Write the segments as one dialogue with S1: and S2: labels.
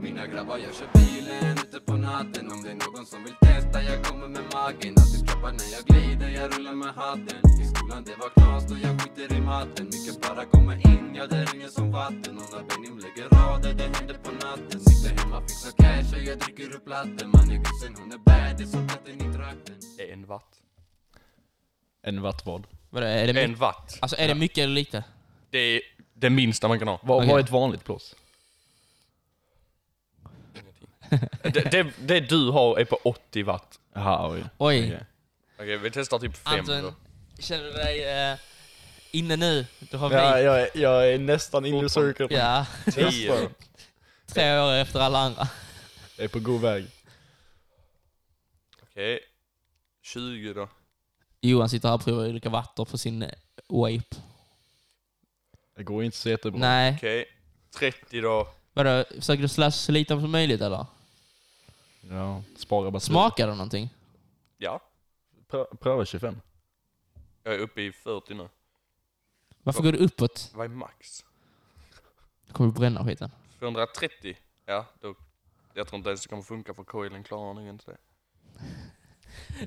S1: mina grabbar jag kör bilen ute på natten Om det är någon som vill testa, jag kommer med magen Alltid droppar när jag glider, jag rullar med hatten I skolan det var knas då jag skiter i matten Mycket bara kommer in, ja det ringer som vatten Och när Benim lägger rader, det händer på natten Sitter hemma, fixar cash och jag dricker upp latten Man är gussen, hon är bad, som katten i trakten
S2: En watt.
S3: En wattvad.
S4: Vadå, är
S3: Mm.
S4: det
S2: En
S4: mycket?
S2: watt.
S4: Alltså är det mycket eller lite?
S2: Det är det minsta man kan ha.
S3: Vad
S4: Okej.
S3: vad är ett vanligt plås?
S2: Det, det, det du har är på 80 watt.
S3: Jaha, oj.
S4: Oj.
S3: Okej.
S2: Okej, vi testar typ 5
S4: Anton, känner du dig eh, inne nu? Du har
S5: Ja,
S4: vit.
S5: jag, är- jag är nästan inne i cirkeln.
S4: Ja,
S5: Testa.
S4: tre år efter alla andra.
S5: Jag är på god väg.
S2: Okej. 20 då.
S4: Johan sitter här och provar olika vatten på sin eh, vape.
S3: Det går inte så jättebra.
S4: Nej,
S2: Okej. 30 då.
S4: vadå? Försöker du slasha så lite som möjligt eller?
S3: Ja, spara bara
S4: Smakar det någonting?
S2: Ja,
S3: Prö- Pröva 25.
S2: jag är uppe i 40 nu.
S4: Varför går det uppåt?
S2: Vad är max?
S4: Då kommer vi bränna skiten.
S2: 430? Ja, då. Jag tror inte ens det kommer funka för coilen klarar nog inte det.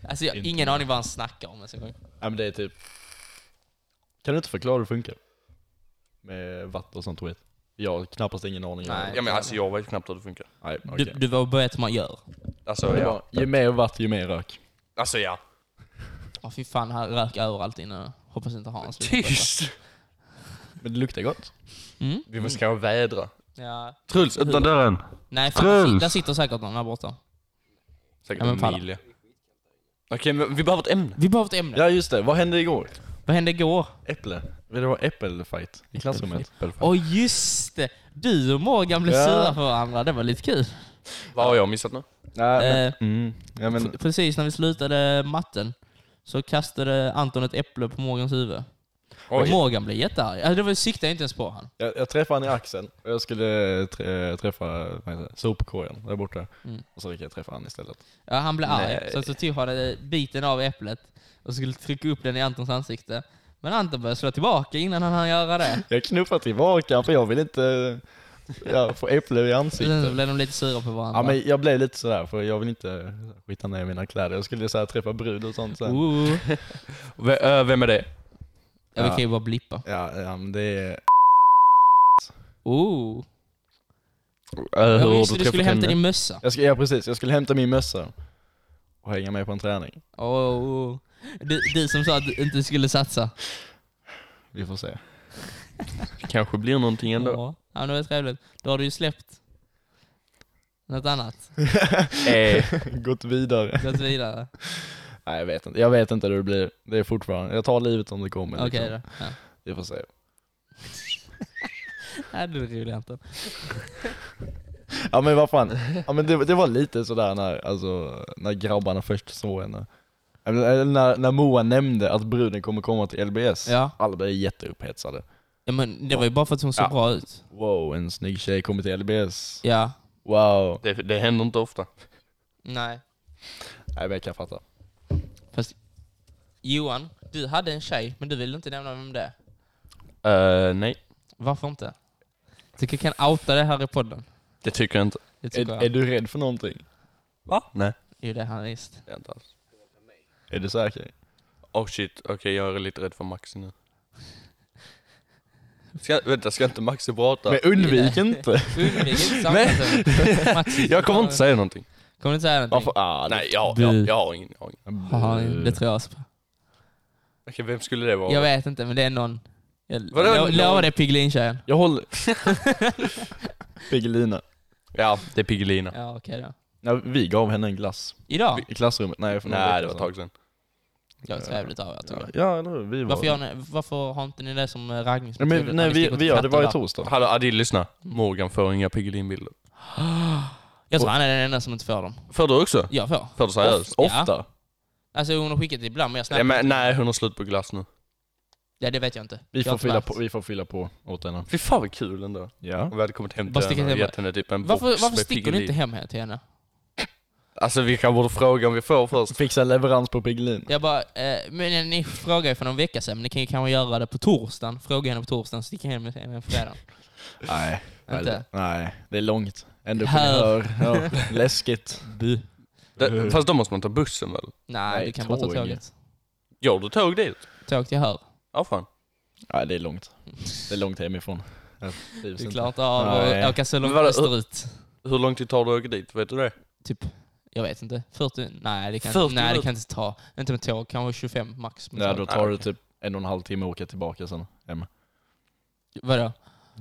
S4: Alltså jag har ingen aning vad han snackar om alltså. ens en gång.
S3: Ja, men det är typ... Kan du inte förklara hur det funkar? Med vatten och sånt skit. Jag har knappast ingen aning. om
S4: Nej.
S3: det.
S2: Ja men alltså jag vet knappt hur det funkar.
S3: Nej
S4: Du,
S3: okej.
S4: du var vet hur man gör.
S2: Alltså
S3: Det
S2: ja.
S3: var, ju mer vatt, ju mer rök.
S2: Alltså ja.
S4: Ja fy fan, han rök överallt inne. Hoppas inte Hans lyssnar på detta.
S2: Tyst!
S3: Men det luktar gott.
S4: Mm?
S2: Vi måste kanske vädra.
S4: Ja.
S2: Truls, öppna dörren!
S4: Nej fan,
S2: Truls!
S4: där sitter säkert någon här borta.
S2: Säkert
S4: Ja, men fan.
S2: Emilia. Okej, men vi behöver ett ämne.
S4: Vi behöver ett ämne.
S3: Ja just det, vad hände igår?
S4: Vad hände igår?
S3: Äpple. Vill du ha äppelfight i klassrummet? Äppelfight.
S4: Åh just det! Du och Morgan blev
S3: Ja.
S4: sura för varandra, det var lite kul.
S2: Vad har jag missat nu?
S3: Nej,
S4: Eh,
S3: men, mm, ja, men,
S4: Pre- Precis när vi slutade matten så kastade Anton ett äpple på Morgans huvud. Och
S2: Oj.
S4: Morgan blev jättearg. Alltså, det var siktade jag inte ens på han.
S3: jag, jag träffade han i axeln och jag skulle eh, trä- träffa vad heter det, sopkorgen där borta.
S4: Mm.
S3: Och så fick jag träffa han istället.
S4: Ja, han blev arg.
S2: Nej.
S4: Så, så tog han eh, biten av äpplet och skulle trycka upp den i Antons ansikte. Men Anton började slå tillbaka innan han hann göra det.
S3: Jag knuffade tillbaka för jag vill inte eh, ja, få äpple i
S2: Typ.
S4: Sen så
S3: ansiktet.
S4: blev de lite sura på varandra.
S3: Ja, men jag blev lite sådär för jag vill inte skita ner mina kläder. Jag skulle så här, träffa brud och sånt sen.
S4: Ooh.
S2: V- ö, Vem är det?
S4: Oh. Ja, vi
S3: Ja.
S4: kan ju bara blippa.
S3: Ja, ja, men det är...
S4: Ooh.
S2: Ö,
S4: Oh. Ja,
S2: Hur
S4: just
S2: har
S4: det,
S2: du
S4: du skulle
S2: träffat
S4: hämta
S2: henne?
S4: din mössa.
S3: Jag ska, ja precis, jag skulle hämta min mössa och hänga med på en träning.
S4: Oh, oh. Du, du som sa att du inte skulle satsa.
S3: Vi får se.
S2: Det kanske blir någonting ändå.
S4: Ja, ja men det var trevligt. Då har du ju släppt något annat.
S2: Eh,
S3: Gått vidare.
S4: Gått vidare.
S3: Nej, jag vet inte. Jag vet inte hur det blir. Det är fortfarande... Jag tar livet som det kommer.
S4: Okej
S3: liksom.
S4: då. Ja.
S3: Vi får se.
S4: Nej, det är roligt Anton.
S3: Ja men vad fan. Ja, men det, det var lite sådär när, alltså, när grabbarna först såg henne. Ja, men, eller När, när Moa nämnde att bruden kommer komma till LBS.
S4: Ja.
S3: Alla blev jätteupphetsade.
S4: Ja, men det var ju bara för att hon såg
S3: Ja.
S4: bra ut.
S3: Wow, en snygg tjej kommer till LBS.
S4: Ja.
S3: Wow.
S2: det, det händer inte ofta.
S4: Nej.
S3: Nej men jag kan fatta.
S4: Fast Johan, du hade en tjej, men du ville inte nämna vem det är.
S2: Ö, Eh, nej,
S4: Varför inte? Tycker jag kan outa det här i podden.
S2: det tycker jag inte.
S4: Det tycker
S3: Är, är
S4: jag.
S3: du rädd för någonting?
S2: Va? Nej.
S4: Jo, det är han visst.
S2: Det är jag inte alls.
S3: Är du säker?
S2: Oh shit, okej jag är lite rädd för Maxi nu. Ska, vänta, ska inte Maxi prata?
S3: Men undvik inte.
S4: Undvik inte samtalet. Maxi,
S2: jag kommer inte säga någonting.
S4: Kommer du inte säga någonting?
S3: Varför? Ah,
S2: Nej, jag, jag,
S4: Du.
S2: jag har ingen aning.
S4: Haha, det tror jag också på.
S2: Okej, vem skulle det vara?
S4: Jag vet inte, men det är någon. Jag
S2: Vadå,
S4: lo-
S2: någon?
S4: lovar det Piggelin-tjejen.
S3: Jag håller... Piggelina.
S2: Ja, det är Piggelina.
S4: Ja, okej då.
S3: Ja, vi gav henne en glass
S4: Idag?
S3: i klassrummet. Nej, för några
S2: Nej, det
S3: veckor
S2: var ett tag sedan.
S4: Det var trevligt av er tror
S3: sedan.
S4: jag.
S3: Eh, Ja, ja, eller hur? Vi var...
S4: Varför, gör ni, varför har inte ni det som eh,
S3: Nej,
S4: raggningsmetod?
S3: men, nej vi,
S4: Ni sticker
S3: vi
S4: till
S3: gör det varje
S4: katter, va?
S3: torsdag.
S2: Hallå Adil, lyssna. Morgan får inga Piggelinbilder.
S4: Jag tror han är den enda som inte får dem.
S2: Får du också?
S4: Jag får.
S2: Får du seriöst?
S4: Ja.
S3: Ofta.
S4: Alltså hon har skickat det ibland men jag snappar
S2: Ja, men, nej, hon har slut på glass nu.
S4: Ja, det vet jag inte.
S3: Vi
S4: jag har
S3: får,
S4: inte
S3: fylla
S4: märkt.
S3: på, vi får fylla på åt henne.
S2: Fy fan vad kul ändå.
S3: Ja.
S2: Om vi hade kommit hem
S4: Bara
S2: till
S4: sticka
S2: henne och
S4: hem-
S2: gett henne typ en
S4: Varför,
S2: box
S4: varför
S2: med
S4: sticker du
S2: Piggelin.
S4: inte hem här till henne?
S2: Alltså vi kan borde fråga om vi får först.
S3: Fixa leverans på Piggelin.
S4: Jag bara, eh, men ni frågade ju för någon vecka sedan, men ni kan ju kanske göra det på torsdagen. Fråga henne på torsdagen, sticka hem henne på fredagen.
S3: Nej.
S4: Inte?
S3: Nej, det är långt. Ända upp i
S4: Här.
S3: hör. Ja, läskigt.
S2: Det, fast då måste man ta bussen väl?
S4: Nej,
S3: Nej,
S4: du kan bara ta
S3: tåg.
S4: tåget.
S2: Gör du tåg dit?
S4: Tåg till hör.
S2: Ja fan.
S3: Ja, det är långt. Det är långt hemifrån. Jag trivs
S4: Du
S3: inte.
S4: klarar inte av
S3: Nej.
S4: att åka så långt
S2: Men vadå,
S4: österut.
S2: Hur lång tid tar det att åka dit? Vet du det?
S4: Typ, jag vet inte. 40? Nej, det kan,
S2: 40
S4: nej, det
S2: minuter.
S4: kan inte ta. Inte med tåg, kanske 25 max. Med
S3: Nej,
S4: tåg.
S3: då tar det typ en och en halv timme att åka tillbaka sen hem.
S4: Vadå?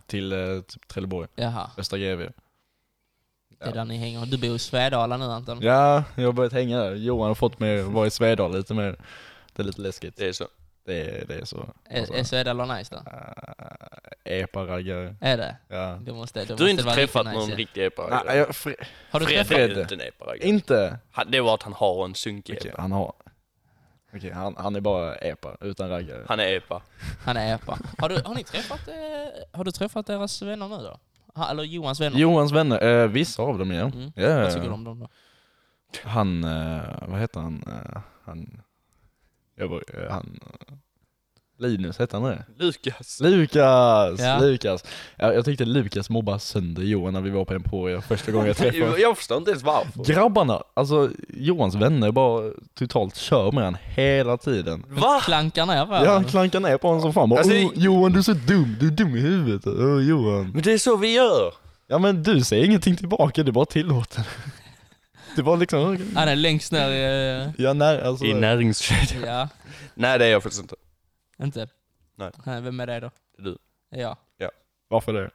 S3: Till eh, typ Trelleborg,
S4: Jaha,
S3: Östra Grevie.
S4: det är där ni hänger. Du bor i Svedala nu Anton.
S3: Ja, jag har börjat hänga där. Johan har fått mig att vara i Svedala lite mer. Det är lite läskigt.
S2: Det är så.
S3: Det är, det är så. Alltså,
S4: Är, är Svedala nice då?
S3: Epa-raggare.
S4: Är det?
S3: Ja.
S4: Du, måste, då
S2: Du har
S4: måste
S2: inte
S4: det vara riktigt
S2: träffat
S4: nice,
S2: någon
S4: ja.
S2: riktig epa
S3: Nej, jag, fr-
S4: Har du
S2: Fred
S4: träffat?
S3: Fred.
S2: är inte en epa
S3: inte!
S2: Det var att han har en sunkig epa.
S3: Okej, han har... Okej, han, han är bara epa, utan raggare.
S2: Han är epa.
S4: Han är epa. Har du, har, ni träffat, eh, har du träffat deras vänner nu då? Ha, eller Johans vänner?
S3: Johans vänner, eh, vissa av dem ja.
S4: Mm.
S3: Ja, ja,
S4: Vad tycker du
S3: ja.
S4: om dem då?
S3: Han, eh, vad heter han? Eh, han... Jag bara, eh, han... eh, Linus, heter han det?
S2: Lukas.
S3: Lukas!
S4: Ja.
S3: Lukas! Jag, jag tyckte Lukas mobbade sönder Johan när vi var på Emporia första gången jag träffade honom.
S2: Jag förstår inte ens varför.
S3: Grabbarna, alltså Johans vänner bara totalt kör med han hela tiden.
S2: Va?
S4: Klankar ner
S3: Ja, han
S4: varandra?
S3: klankar ner på honom som fan bara,
S2: Alltså,
S3: "Åh,
S2: det-
S3: Johan du är så dum, du är dum i huvudet, Åh, Johan.
S2: Men det är så vi gör.
S3: Ja men du säger ingenting tillbaka, du bara tillåter. Det var liksom,
S4: Han är längst ner i... eh,
S3: ja nej alltså.
S2: näringskedjan.
S4: Ja,
S2: Nej det är jag faktiskt inte.
S4: inte?
S2: Nej.
S4: Vem är det då?
S2: Du.
S4: Ja.
S3: Varför det?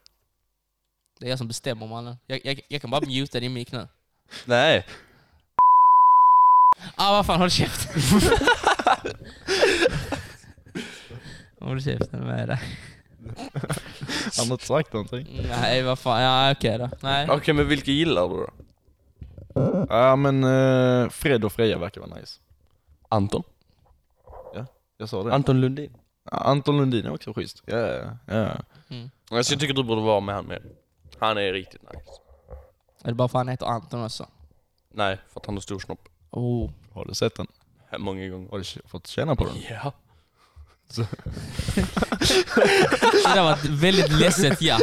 S4: Det är jag som bestämmer mannen. Jag, jag, jag kan bara muta din mick nu.
S2: Nej.
S4: Ah vad fan, håll käften! håll käften med dig.
S3: Han har inte sagt någonting.
S4: Nej vad fan, ja okej då. Nej.
S2: Okej men vilka gillar du då?
S3: Ja men eh, Fred och Freja verkar vara nice.
S2: Anton.
S3: Jag sa det.
S2: Anton Lundin.
S3: Ja, Anton Lundin är också schysst. Ja, ja, ja.
S2: Alltså, jag tycker du borde vara med han med. Han är riktigt nice.
S4: Är det bara för att han heter Anton också?
S2: Nej, för att han har stor snopp.
S4: Oh.
S3: Har du sett den?
S2: Många gånger.
S3: Har du k- fått känna på den?
S2: Ja.
S4: Det där var ett väldigt ledset ja.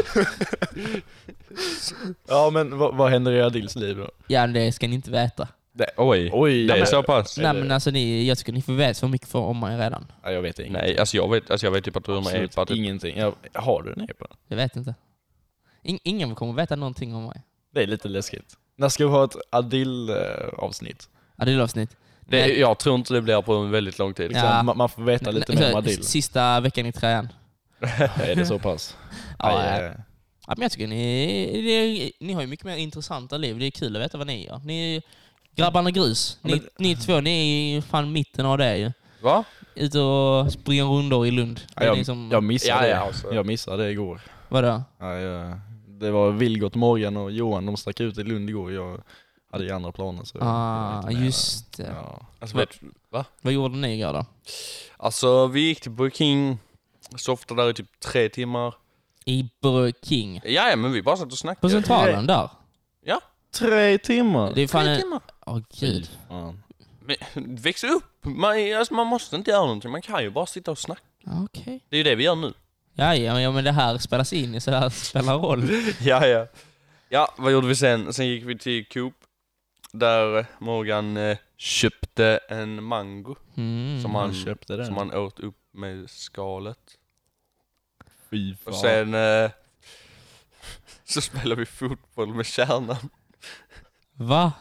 S3: Ja men vad, vad händer i Adils liv då?
S4: Ja det ska ni inte veta.
S2: Oj.
S3: Oj,
S2: Det är
S3: men-
S2: så pass?
S4: Nej men alltså ni, jag tycker ni får veta så mycket för om mig redan.
S3: Ja, jag vet ingenting.
S2: Nej, alltså jag vet, alltså jag vet typ att du är med i
S3: Absolut
S2: epa. Typ.
S3: ingenting. Ja, har du en epa?
S4: Jag vet inte. In, ingen kommer veta någonting om mig.
S3: Det är lite läskigt. När ska vi ha ett eh, Adil-avsnitt?
S4: Ja det är avsnitt.
S2: Det, jag tror inte det blir på en väldigt lång tid.
S4: Ja.
S3: Liksom, Man, man får veta lite
S4: Men-
S3: mer om
S4: så-
S3: Adil.
S4: Sista veckan i tröjan.
S3: är det så pass?
S4: Ja,
S3: Aj,
S4: ja.
S3: eh,
S4: Ja, men jag tycker ni, det, ni har ju mycket mer intressanta liv. Det är kul att veta vad ni gör. Ni grabbarna grus. Ni, ni två, ni är ju fan mitten av det ju.
S2: Va?
S4: Ute och springer rundor i Lund. Det är liksom-
S3: jag,
S4: ni som,
S3: jag
S2: Ja,
S3: missade
S2: ja,
S3: det.
S2: alltså.
S3: Jag missade det igår.
S4: Vadå?
S3: Ja, jag, det var Vilgot, Morgan och Johan, de stack ut i Lund igår. Jag hade ju andra planer. Så jag var
S4: Ah,
S3: inte med
S4: just
S3: där.
S4: det.
S3: Ja.
S2: Alltså, vet,
S4: Vad gjorde ni igår då?
S2: alltså vi gick till Burger King, softade där i typ tre timmar.
S4: I Burger King.
S2: Ja, ja men vi bara satt och
S4: På
S2: snackade.
S4: Centralen där.
S3: Tre timmar!
S4: Det är fan eh,
S2: Tre
S4: en...
S2: timmar.
S4: Åh gud.
S3: Fan.
S2: Men, växa upp! Man, alltså, man måste inte göra någonting, man kan ju bara sitta och snacka.
S4: Ja, Okej.
S2: Det är ju det vi gör nu.
S4: Ja, ja, ja, men det här spelas in så det här spelar roll.
S2: Ja, ja. Ja, vad gjorde vi sen? Sen gick vi till Coop. Där Morgan eh, köpte en mango
S4: Mm.
S2: som,
S3: Man
S2: han,
S3: köpte den.
S2: som han åt upp med skalet.
S3: Fy fan.
S2: Och sen eh, så spelade vi fotboll med kärnan.
S4: Va?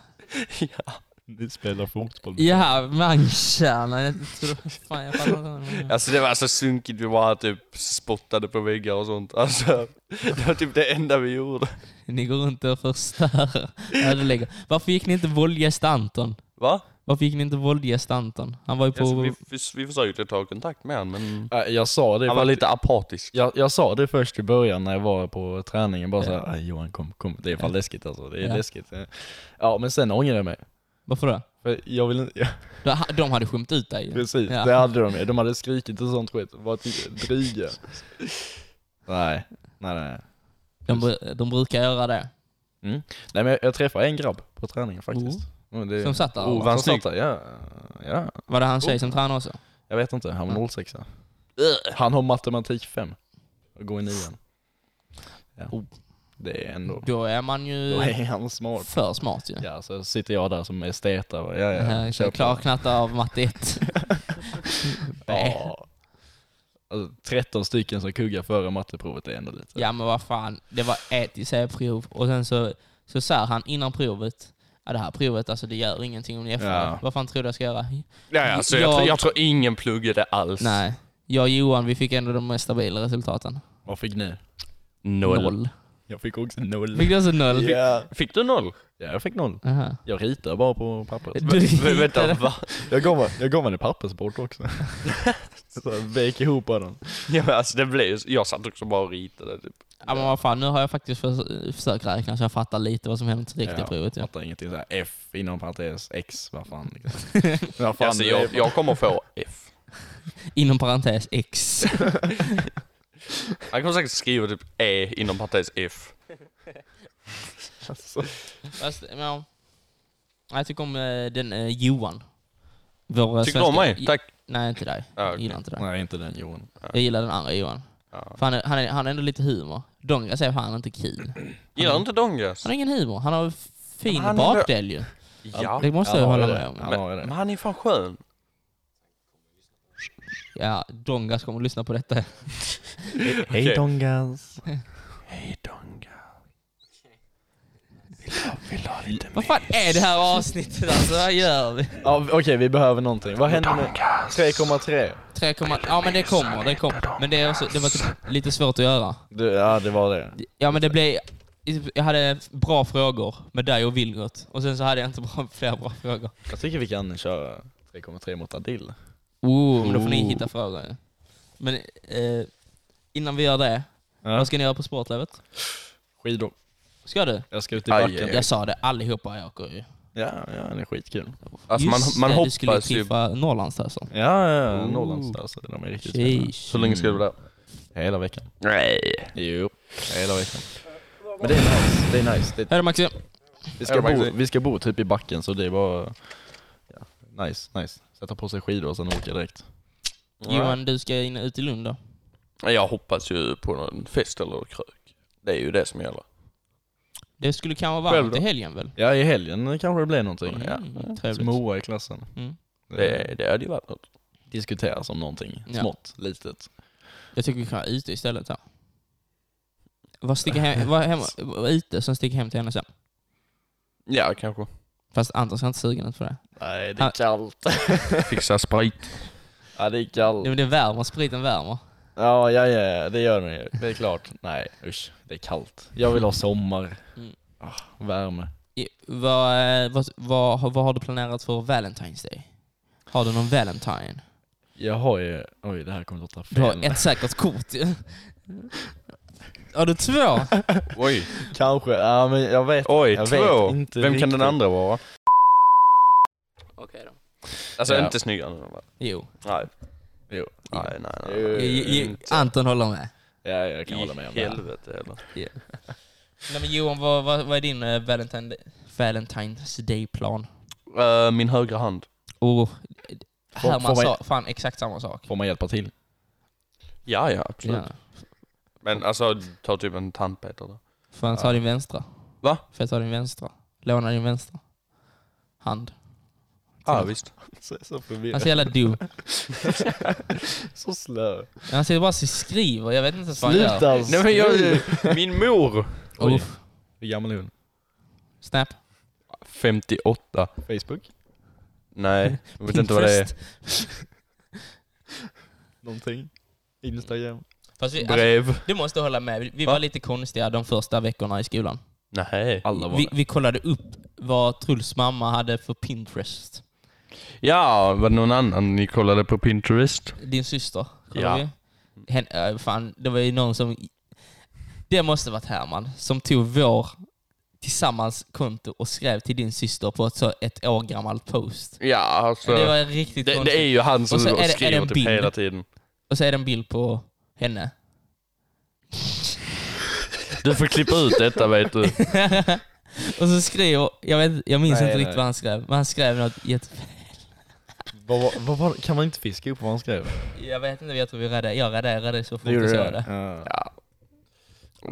S2: ja.
S3: Ni spelar fotboll.
S4: Ja, mankkärnan. Jag tror... Fan, jag fattar inte.
S2: Alltså det var så sunkigt, vi bara typ spottade på väggar och sånt. Alltså, det var typ det enda vi gjorde.
S4: Ni går runt och förstör. Ödelägger. Varför gick ni inte våldgästa Anton?
S2: Va?
S4: Varför gick ni inte våldgästa Anton? Han var ju på...
S2: Alltså, vi, vi, vi försökte ta kontakt med honom men
S3: Ja, Jag sa det
S2: han var
S3: faktiskt.
S2: lite apatisk.
S3: jag, jag sa det först i början när jag var på träningen, bara såhär "Aj, Johan kom, kom, det är fan läskigt alltså, det är
S4: Ja.
S3: läskigt. Ja men sen ångrade jag mig.
S4: Varför då?
S3: För jag ville inte, ja,
S4: De- De hade skämt ut dig ju.
S3: precis,
S4: Ja.
S3: det hade de ju. De hade skrikit och sånt skit, varit dryga. nej, nej nej.
S4: De, bru- de brukar göra det.
S3: Nej men jag, jag träffade en grabb på träningen faktiskt. Mm, det,
S4: Som satt där?
S3: oh,
S4: eller?
S2: vad-
S3: han
S2: han
S3: satt
S2: snygg?
S3: där, ja, ja.
S4: Var det han tjej som tränade också?
S3: Jag vet inte, han var 06 ja. Han har matematik 5. Och går i nian. Ja.
S4: Oh.
S3: det är ändå,
S4: Då är man ju
S3: då är han smart.
S4: för smart ju.
S3: Ja, så sitter jag där som estet och bara, ja ja,
S4: Ja,
S3: kör på.
S4: Klarknattar av matte 1. Nej.
S3: Ja. Alltså, 13 stycken som kuggar före matteprovet är ändå lite...
S4: Ja men vad fan, det var ett isärprov och sen så, så sa han innan provet Ja det här provet, alltså det gör ingenting om ni är
S3: Ja.
S4: ja. Vad fan tror du jag ska göra?
S2: Ja, ja, så jag,
S4: Jag-
S2: tror- jag tror ingen pluggade alls.
S4: Nej. Jag och Johan, vi fick ändå de mest stabila resultaten.
S3: Vad fick ni?
S2: Noll.
S3: Jag fick också noll.
S4: Fick du alltså noll?
S3: Ja.
S2: Fick du noll?
S3: ja, jag fick noll.
S4: Aha.
S3: Jag ritar bara på pappret.
S4: Du
S2: Vä- Vänta,
S4: hittade-
S2: va?
S3: Jag gav, jag gav henne pappersbord också. så jag vek ihop den.
S2: Ja, men alltså det blev ju... Jag satt också bara och ritade typ.
S4: Ja men vad fan, nu har jag faktiskt för, försökt räkna så jag fattar lite vad som hände till riktiga
S3: Ja,
S4: provet. Ja.
S3: Fattar ingenting. Så här, F inom parentes, X, vad fan. Liksom. vad fan
S2: alltså,
S3: det
S2: jag,
S3: är.
S2: jag kommer få F.
S4: Inom parentes X.
S2: Han kommer säkert skriva typ E inom parentes F.
S4: Fast, men, ja. Jag tycker om eh, den eh, Johan. Vår eh,
S2: Tycker du om mig? Tack.
S4: Nej inte dig.
S2: Ja,
S4: Jag
S2: okej. Ah.
S4: gillar inte dig.
S3: Nej, inte den Johan.
S4: Jag gillar den andra Johan.
S2: Ja.
S4: För han, är, han, är, han är ändå lite humor. Donga säger fan inte kul.
S3: Mm.
S2: Gillar du inte Dongas?
S4: Han har ingen humor. Han har fin
S2: Men han är-
S4: bakdel ju.
S2: Ja.
S4: Det måste jag
S3: han har
S4: hålla
S3: det.
S4: med om.
S3: Han
S2: Men,
S3: har ju
S2: men
S3: det.
S2: han är fan skön.
S4: Ja, Dongas kommer att lyssna på detta.
S2: Okej.
S3: Hej Dongas.
S2: Hej Donga. Vill du ha lite
S4: Vad fan är det här avsnittet alltså? Vad gör vi?
S3: Ja, Okej, vi behöver någonting. Vad händer med
S2: Dongas.
S3: 3,3?
S4: 3, ja men det kommer, det kommer. Men det, är också, det var typ lite svårt att göra.
S3: Du, ja, det var det.
S4: Ja men det blev... Jag hade bra frågor med dig och Wilgert. Och sen så hade jag inte bra, fler bra frågor.
S3: Jag tycker vi kan köra 3,3 mot Adil.
S4: Oh, men då får ni hitta frågor. ja. Men eh, innan vi gör det,
S3: Ja.
S4: vad ska ni göra på sportlovet?
S3: Skidor.
S4: Ska du?
S3: Jag ska ut i
S2: Aj,
S3: backen.
S2: aj,
S4: Jag sa det, allihopa jag åker ju.
S3: Ja, ja, det är skitkul.
S2: Alltså man,
S4: Just
S2: man
S4: det, du
S2: hoppas
S4: skulle ju
S2: ju...
S4: triffa Norrlandstösen.
S3: Ja, ja, ja.
S2: Ooh.
S3: Norrlandsdöser. De är riktigt fina.
S4: Sheesh.
S2: Så länge ska du vara där?
S3: Hela veckan.
S2: Nej.
S3: Jo, hela veckan. Men det är nice. Det är nice. Det,
S4: Hej då Maxi.
S3: vi,
S2: Ja,
S3: ska
S2: det är
S3: bo,
S2: nice.
S3: vi ska bo typ i backen, så det är bara... Ja, nice, nice. Sätta på sig skidor och sen åka direkt.
S4: Johan, du ska in ut i Lund då.
S2: Jag hoppas ju på någon fest eller krök. Det är ju det som gäller.
S4: Det skulle kanske
S2: Själv
S4: vara
S2: då?
S4: till helgen väl?
S3: Ja, i helgen kanske det blir någonting.
S4: Mm,
S3: Ja.
S4: Trevligt.
S3: Småa i klassen.
S4: Mm.
S2: Det, det hade ju varit något.
S3: Diskuteras om någonting.
S4: Ja.
S3: Smått, litet.
S4: Jag tycker vi kan vara ute istället här. Vad sticker hem, vad hem, vad ute som sticker hem till henne sen.
S2: Ja, kanske.
S4: Fast Anton ser inte sugen ut för det.
S3: Nej,
S4: det är
S3: kallt.
S2: Fixa sprit.
S3: ja, det är
S4: Nej,
S3: kallt.
S4: men det värmer, spriten värmer.
S3: Ja, ja, ja, det gör det. Det är klart. Nej, usch. Det är kallt. Jag vill ha sommar.
S4: Mm.
S3: Ah, värme.
S4: I- Vad, eh, vad, vad, har- vad har du planerat för Valentine's Day? Har du någon Valentine?
S3: Jag har ju... Oj, det här kommer låta fel.
S4: Du har ett säkert kort ju. Har du två?
S2: Oj.
S3: Kanske, ja men jag vet
S2: Oj,
S3: Jag
S2: två.
S3: vet inte
S2: Vem kan
S3: riktigt.
S2: den andra vara?
S4: Okej då.
S2: Alltså
S3: Ja.
S2: inte snyggare än den andra.
S4: Jo.
S2: Nej.
S3: Jo.
S2: Nej, nej, nej.
S3: Jo,
S4: Jo, jo.
S2: Inte.
S4: Anton håller med.
S3: Ja, jag kan hålla med om det. här.
S2: Helvete eller?
S4: Nej, men Johan, vad, vad, vad är din eh, Valentine, Valentine's Day-plan?
S2: Eh, min högra hand.
S4: Oh,
S3: Får-
S4: Herman
S3: får man-
S4: sa fan exakt samma sak.
S3: Får man hjälpa till?
S2: Ja, ja absolut.
S4: Ja.
S2: Men alltså, ta typ en tandpetare då.
S4: Får jag ta din vänstra?
S2: Va?
S4: Får jag ta din vänstra? Låna din vänstra? Hand.
S2: Ja, ah, visst.
S3: Så, så
S4: Han
S3: förvirrad.
S4: ser jävla dum.
S3: så slö.
S4: Han ser bara och skriver. Jag vet inte ens vad han gör.
S3: Sluta!
S2: Nej men jag, min mor!
S3: Oj.
S4: Uff.
S3: Hur gammal är hon?
S4: Snap.
S2: 58.
S3: Facebook?
S2: Nej, jag vet inte vad det är.
S4: Pinterest.
S3: Någonting? Instagram?
S4: Fast vi, alltså,
S2: Brev.
S4: du måste hålla med. Vi, vi
S2: Va?
S4: var lite konstiga de första veckorna i skolan.
S2: Nej.
S3: Alla var
S4: Vi, vi kollade upp vad Truls mamma hade för Pinterest.
S2: Ja, var det någon annan ni kollade på Pinterest?
S4: Din syster.
S2: Ja.
S4: Ja. Vi. Hen, äh, fan, det var ju någon som... Det måste varit Herman som tog vår tillsammans konto och skrev till din syster på ett, så ett år gammalt post.
S2: Ja, alltså.
S4: Det
S2: Det,
S4: var en riktigt
S2: det,
S4: konstigt.
S2: är ju han som
S4: Och så är det- är det
S2: skriver
S4: en
S2: typ
S4: bild?
S2: hela tiden.
S4: Och så är det en bild på henne.
S2: Du får klippa ut detta vet du.
S4: och så skriver... Jag, vet, jag minns
S3: Nej,
S4: inte
S3: nej.
S4: riktigt vad han skrev, men han skrev något jätte...
S3: Vad, var- vad, var- kan man inte fiska upp vad han skrev?
S4: Jag vet inte, jag tror vi raderade, jag raderade så fort jag såg det.
S3: Ja.
S2: Ja.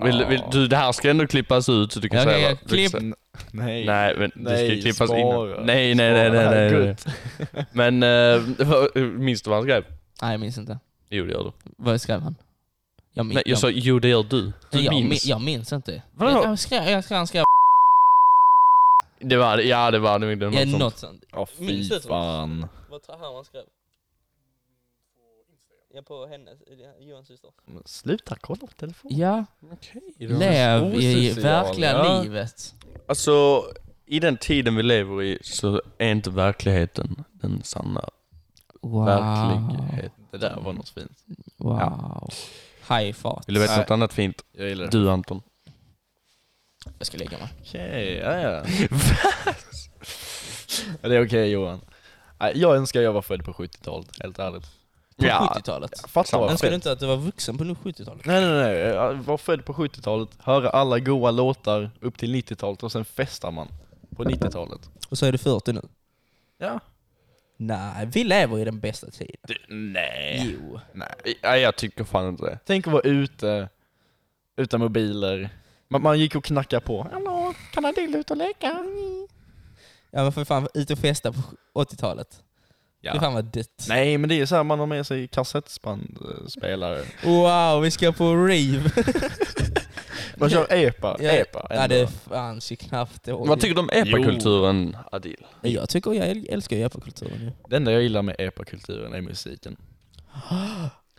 S2: Vill, vill, du, det här ska ändå klippas ut så du kan
S4: Okej,
S2: säga
S4: jag
S2: vad- du kan
S4: klipp.
S2: säga-
S3: Nej.
S2: Nej, men det ska
S3: Nej,
S2: klippas
S3: spara.
S2: in. Nej, nej, nej, nej,
S3: Spara.
S2: nej, nej.
S3: Gud.
S2: Men, eh, vad- minns du vad han skrev?
S4: Nej, jag minns inte.
S2: Jo, det gör du.
S4: Vad skrev han? Jag minns,
S2: Nej, jag sa, jo det gör du. Du
S4: jag,
S2: minns.
S4: min- jag minns inte.
S2: Vadå?
S4: Jag, jag, skrev, jag skrev, han skrev
S2: Det var det, ja det var det. det var
S4: ja,
S2: något sånt.
S4: något sånt.
S3: Ja,
S4: Minns
S3: fy
S4: du inte
S3: fan.
S4: Vad tror han skrev? Ja, på hennes, Johans syster.
S3: Men Sluta kolla på telefonen.
S4: Ja,
S2: var
S4: lev i
S3: osocial,
S4: verkliga
S3: ja.
S4: livet.
S2: Alltså, i den tiden vi lever i så är inte verkligheten den sanna
S4: Wow.
S2: verkligheten.
S3: Det där var något fint.
S4: Wow. High fart.
S2: Vill du veta
S3: Nej.
S2: något annat fint?
S3: Jag gillar det.
S2: Du Anton.
S4: Jag ska lägga mig.
S3: Okej, ja ja. Ja, Det är okej Johan. Nej, Jag önskar jag var född på 70-talet, helt ärligt.
S4: På
S2: Ja.
S4: 70-talet.
S3: Fattar vad
S4: Önskar du
S3: fett.
S4: inte att du var vuxen på 70-talet?
S3: Nej nej nej, jag var född på 70-talet, höra alla goa låtar upp till 90-talet och sen festar man på 90-talet.
S4: Och så är du 40 nu?
S3: Ja.
S4: Nej, vi lever i den bästa tiden.
S3: nej.
S4: Jo.
S3: nej.
S2: Nej, jag tycker fan inte det.
S3: Tänk att vara ute, utan mobiler. Man, man gick och knackade på. Hallå, kan jag dilla ut och leka?
S4: Ja men för fan, ut och festa på 80-talet.
S3: Ja.
S4: Det fan var dött.
S3: Nej men det är ju såhär, man har med sig kassettbandspelare.
S4: Wow, vi ska på rave.
S3: Man kör epa,
S4: Ja.
S3: epa.
S4: Ja det fanns ju knappt då.
S2: Vad tycker du om epakulturen, Adil?
S4: Men Jag tycker jag äl- älskar ju epakulturen ju.
S3: Det enda jag gillar med epakulturen är musiken.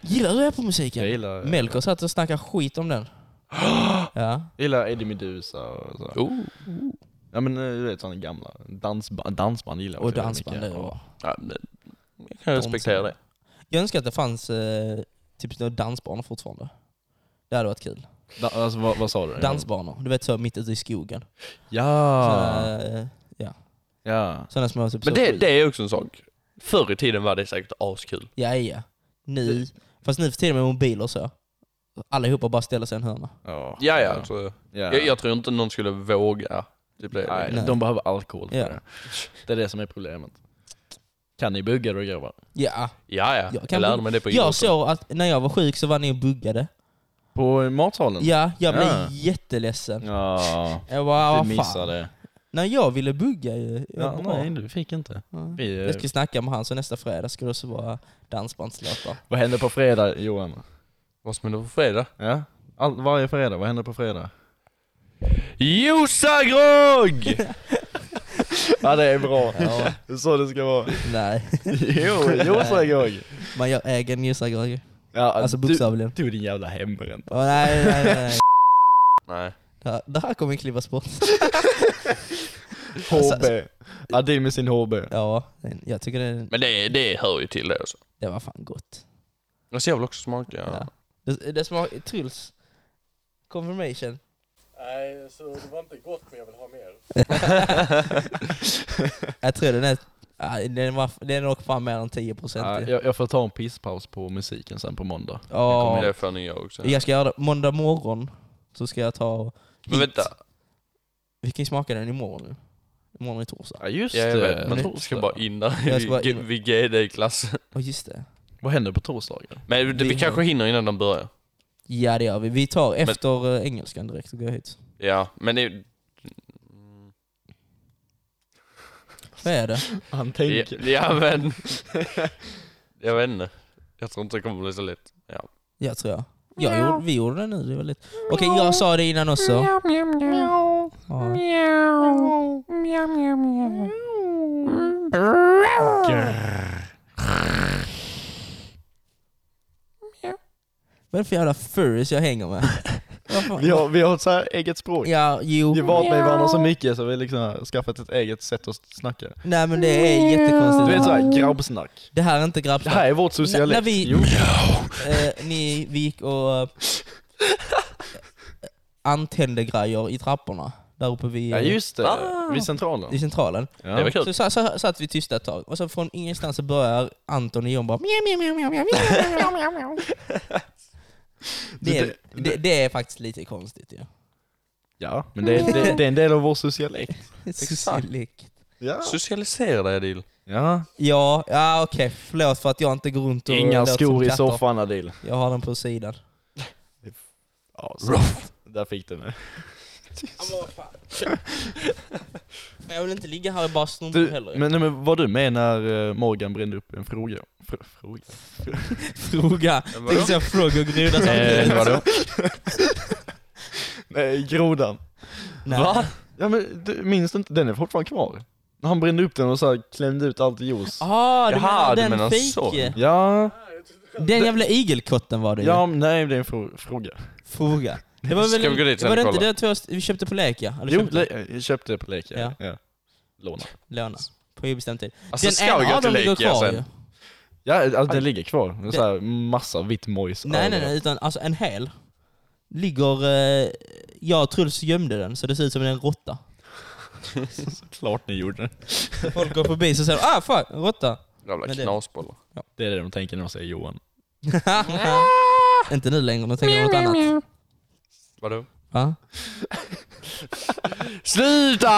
S4: Gillar du
S3: Jag
S4: epamusiken?
S2: eh,
S3: gillar,
S4: Melker satt och snackade skit om den. ja.
S3: jag gillar Eddie Meduza och så.
S2: Oh.
S3: Ja men eh, du vet sådana gamla. Dansband, dansband gillar jag
S4: Och
S3: också väldigt
S4: dansband det
S3: mycket.
S4: var.
S2: Ja, men, jag kan respektera det.
S4: Jag önskar att det fanns eh, typ några dansbanor fortfarande. Det hade varit kul.
S3: Da, alltså, vad, vad sa du?
S4: Dansbanor, du vet så mitt ute i skogen.
S3: Ja!
S4: Såna, eh,
S3: ja.
S4: såna små
S2: Ah.
S4: typ
S2: Men
S4: så
S2: det,
S4: skit.
S2: det är också en sak. Förr i tiden var det säkert askul.
S4: Ja, ja. Nu, fast nu för tiden med mobiler och så. Allihopa bara ställer sig i en hörna.
S3: Ja,
S2: Ja, ja. Tror jag.
S3: ja.
S2: Jag, jag tror inte någon skulle våga. Det blev
S3: Nej,
S4: Nej.
S3: De behöver alkohol för
S4: Ja.
S3: det. Det är det som är problemet. Kan ni bugga då grabbar?
S4: Ja.
S2: Ja, ja.
S4: Jag
S2: Jag,
S4: kan
S2: lärde mig det på
S4: Jag
S2: idrotten.
S4: såg att när jag var sjuk så var ni och buggade.
S3: På matsalen?
S4: Ja, jag blev
S3: Ja.
S4: jätteledsen.
S3: Ja,
S4: Jag bara,
S3: du
S4: vad fan.
S3: missade.
S4: När jag ville bugga ju.
S3: Ja,
S4: Ja,
S3: nej, du fick inte. Vi, eh,
S4: Jag ska snacka med han så nästa fredag ska det också vara dansbandslåtar.
S3: Vad händer på fredag Johan?
S2: Vad som hände på fredag?
S3: Ja? All, varje fredag, vad händer på fredag?
S2: Josagrog!
S3: Ja det är bra,
S4: Ja,
S3: det är så det ska vara.
S4: nej,
S3: Jo, jo sa jag.
S4: man gör egen ljusagrage.
S3: Ja,
S4: Alltså
S3: du,
S4: bokstavligen.
S3: du din jävla hembränd.
S4: Åh, nej, nej, nej.
S2: Nej.
S4: Det här- Det här kommer klippas bort.
S3: HB. Adil med sin HB.
S4: Ja, jag tycker det,
S2: Men det, det hör ju till det också.
S4: det var fan gott.
S2: Alltså jag vill också smaka.
S4: Ja. Det, det smakar... Truls. Confirmation.
S5: Nej, så det var inte gott men jag vill ha mer.
S4: Jag tror den är... ah, Den, var, den är nog fan mer än 10
S3: Ja,
S4: procent.
S3: jag, jag får ta en pisspaus på musiken sen på måndag.
S2: Men
S4: Ja,
S2: Det får ni göra också.
S4: jag ska göra det måndag morgon. Så ska jag ta... och-
S2: Men vänta.
S4: Vi kan ju smaka den imorgon nu. Imorgon är torsdag.
S3: Ja just
S2: Ja, jag
S3: det.
S2: vet. Man
S3: Torsdag.
S2: ska bara in där
S4: Jag ska bara
S2: i-
S4: in.
S2: vid GD-klassen.
S4: Ja just det.
S3: Vad händer på torsdagen?
S2: Men det, vi
S4: Vinner.
S2: kanske hinner innan de börjar.
S4: Ja det gör vi. Vi tar efter eh, engelskan direkt och går hit.
S2: Ja, men det...
S4: Vad är det?
S3: Han
S2: Ja, ja men... jag vet inte. Jag tror inte det kommer bli så lätt. Ja.
S4: Jag tror jag. Ja, gjorde, vi gjorde det nu. Det var lite... Okej, jag sa det innan också. Ja. Vad är det för jävla furries jag hänger med? Vad fan-
S3: Vi har, vi har ett så här eget språk.
S4: Ja, jo.
S3: Vi har valt med varandra så mycket så vi liksom har skaffat ett eget sätt att snacka.
S4: Nej men det är jättekonstigt.
S3: Du vet såhär grabbsnack.
S4: Det här är inte
S3: Det
S4: grabbsnack.
S3: här är vårt
S4: N- när
S3: socialism.
S4: vi,
S3: Jo.
S4: eh, ni, vi gick och eh, antände grejer i trapporna där uppe vid,
S3: Ja
S4: eh,
S3: just det,
S2: Ah.
S3: vid centralen.
S4: i centralen.
S2: Det var
S3: Ja.
S2: kul.
S4: Så, så, så satt vi tysta ett tag och så från ingenstans så börjar Anton och John bara mjau, mjau, mjau, mjau, mjau, mjau, mjau, mjau. det, är- det, det är faktiskt lite konstigt ju.
S3: ja. Men det, det, det är en del av vår socialekt.
S4: Exakt.
S3: Ja.
S2: Socialisera dig Adil.
S3: ja.
S4: Ja, ja okej. Förlåt för att jag inte går runt och
S3: Inga
S4: låter som
S3: skor i
S4: katter.
S3: soffan Adil.
S4: Jag har den på sidan.
S3: Ja, Där fick du den.
S4: Ja, men vad fan. Men jag vill inte ligga här och bara snompor
S3: Du,
S4: heller.
S3: men, nej, men var du med när eh, Morgan brände upp en fråga? Fr- fråga?
S4: Fråga.
S2: Men vadå?
S4: Tänk så fråga och groda
S2: Eh,
S4: samtidigt.
S2: vadå?
S3: Nej, grodan.
S4: Nej.
S2: Va?
S3: Ja men du, minns du inte? Den är fortfarande kvar. När han brände upp den och så här, klämde ut allt i juice.
S4: Ah, du
S2: Jaha,
S4: menar
S2: du
S4: den
S2: menar så.
S4: fake?
S3: Ja,
S4: Den jävla igelkotten var det ju.
S3: ja, men nej det är en frå- fråga.
S4: Fråga. Det var
S2: Ska
S4: väl...
S2: vi gå dit sen
S4: Var det
S2: och
S4: inte
S2: kolla?
S4: det två vi köpte på lek ja? Eller
S3: Jo,
S4: köpte,
S3: le- jag köpte det på Leka.
S4: Ja.
S3: Ja. Låna.
S4: låna. På obestämd tid.
S2: Alltså
S4: den
S2: ska vi
S4: ena
S2: gå
S4: av dem
S2: till
S4: ligger
S2: Lekia
S4: kvar
S2: sen?
S4: ju.
S3: Ja, alltså, den ligger kvar. Det är så här massa vitt mojs.
S4: Nej, nej,
S3: över.
S4: nej, utan alltså en hel. Ligger... Eh, jag och Truls gömde den, så det ser ut som en råtta.
S3: Såklart ni gjorde det.
S4: Folk går förbi så säger de, ah fuck, en råtta.
S2: Jävla
S4: Men det-
S2: knasbollar.
S3: Det är det de tänker när de säger Johan.
S4: Inte nu längre, de tänker något annat.
S2: Vadå?
S4: Va?
S2: Sluta!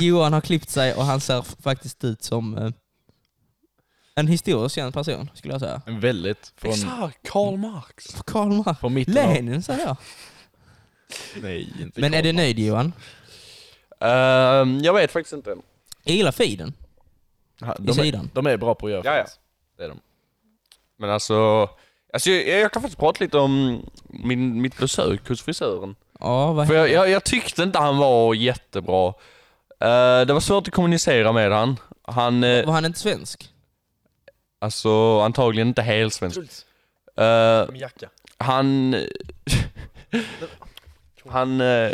S4: Johan har klippt sig och han ser f- faktiskt ut som eh, en historiskt känd person, skulle jag säga.
S3: Väldigt. Från,
S2: Exakt, Karl Marx.
S4: Karl Marx.
S3: från mitten av...
S4: Lenin, säger jag.
S3: Nej, inte
S4: Men är
S3: Karl
S4: du nöjd Johan?
S2: Ehm, jag vet faktiskt inte.
S4: Jag gillar feeden.
S3: Ja,
S4: I
S3: De
S4: sidan.
S3: är, de är bra på att göra
S2: Ja, ja.
S3: fans. Det är de.
S2: Men alltså, alltså jag, jag kan faktiskt prata lite om min, mitt besök hos frisören.
S4: Ja, vad
S2: För jag, jag, jag tyckte inte han var jättebra. Eh, det var svårt att kommunicera med han. Han, eh,
S4: Var han inte svensk?
S2: alltså antagligen inte helt svensk. Eh,
S3: Jacka.
S2: han... han... eh,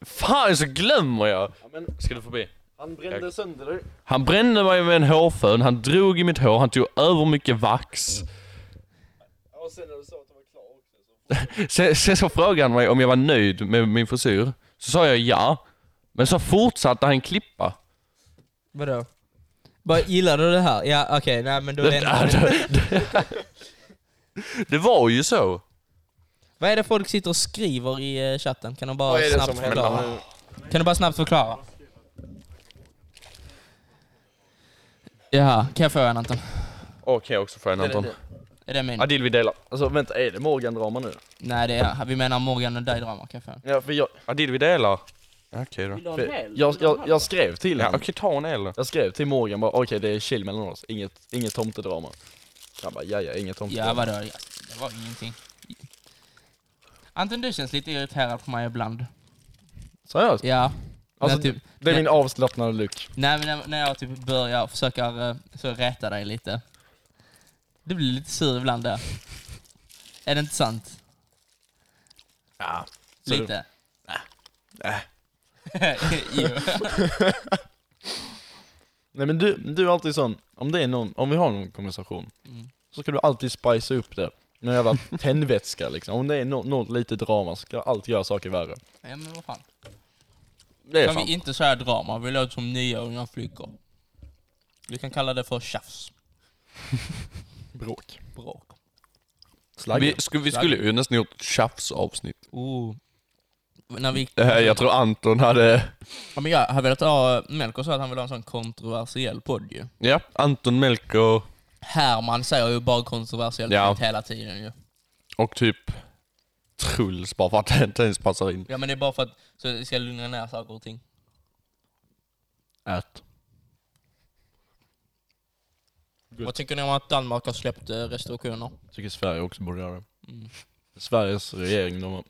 S2: fan, så glömmer jag! Ska du förbi?
S3: Han
S2: brände
S3: sönder dig.
S2: Han brände mig med en hårfön, han drog i mitt hår, han tog över mycket vax.
S3: Och sen när du sa att han var klar också.
S2: Sen, sen så frågade han mig om jag var nöjd med min frisyr. Så sa jag ja. Men så fortsatte han klippa.
S4: Vadå? Bara, gillar du det här? Ja, okej, nej men då är det
S2: Det,
S4: inte...
S2: det, det, det var ju så.
S4: Vad är det folk sitter och skriver i eh, chatten? Kan de bara
S5: Vad är det
S4: snabbt
S5: som händer
S4: förklara?
S5: nu?
S4: Kan du bara snabbt förklara? Jaha, kan jag få en Anton?
S2: Och kan jag också få en Anton?
S4: Är det min?
S2: Adil vi delar.
S3: Alltså vänta, är det Morgan-drama nu?
S4: Nej, det är Vi menar Morgan och dig-drama. Kan jag få en?
S3: Ja, för jag,
S2: Adil vi delar. Ja, Okej då.
S3: för jag, jag, jag skrev till
S2: Ja,
S3: honom.
S2: okej ta en eller?
S3: Jag skrev till Morgan bara okej det är chill mellan oss, inget, inget tomtedrama. Han bara ja, ja inget tomtedrama.
S4: Ja, vadå? Ja, Det var ingenting. Anton, du känns lite irriterad på mig ibland.
S3: Seriöst?
S4: Ja.
S3: Alltså,
S4: när, typ,
S3: Det är
S4: Nej.
S3: min avslappnade look.
S4: nej, men när, när jag typ börjar försöka eh, så rätta dig lite. Du blir lite sur ibland där. Är det inte sant?
S3: Ja. Så du,
S4: Lite? Nej. jo.
S3: nej men du, du är alltid sån, om, det är någon, om vi har någon konversation,
S4: Mm.
S3: så ska du alltid spicea upp det. Med jävla tändvätska liksom. Om det är något no, lite drama så ska jag alltid göra saker värre.
S4: Ja, men vad fan.
S2: Det är
S4: Kan
S2: sant.
S4: vi inte säga drama? Vi låter som nya unga flickor. Vi kan kalla det för tjafs.
S3: Bråk.
S4: Bråk.
S3: Slagg.
S2: Vi, sku, vi skulle ju nästan gjort ett tjafsavsnitt.
S4: Oh. När vi,
S2: Eh, Jag tror Anton hade...
S4: ja, men jag har velat ha, eh, Melker sa att han vill ha en sån kontroversiell podd ju.
S2: Ja, Anton, Melker
S4: Herman säger ju bara kontroversiell
S2: Ja.
S4: skit hela tiden ju.
S2: och typ Truls bara för att det inte ens passar in.
S4: Ja men det är bara för att så jag ska lugna ner saker och ting.
S3: Ät.
S4: Vad tycker ni om att Danmark har släppt eh, restriktioner?
S3: Tycker Sverige också borde göra det.
S4: Mm.
S3: Sveriges regering, de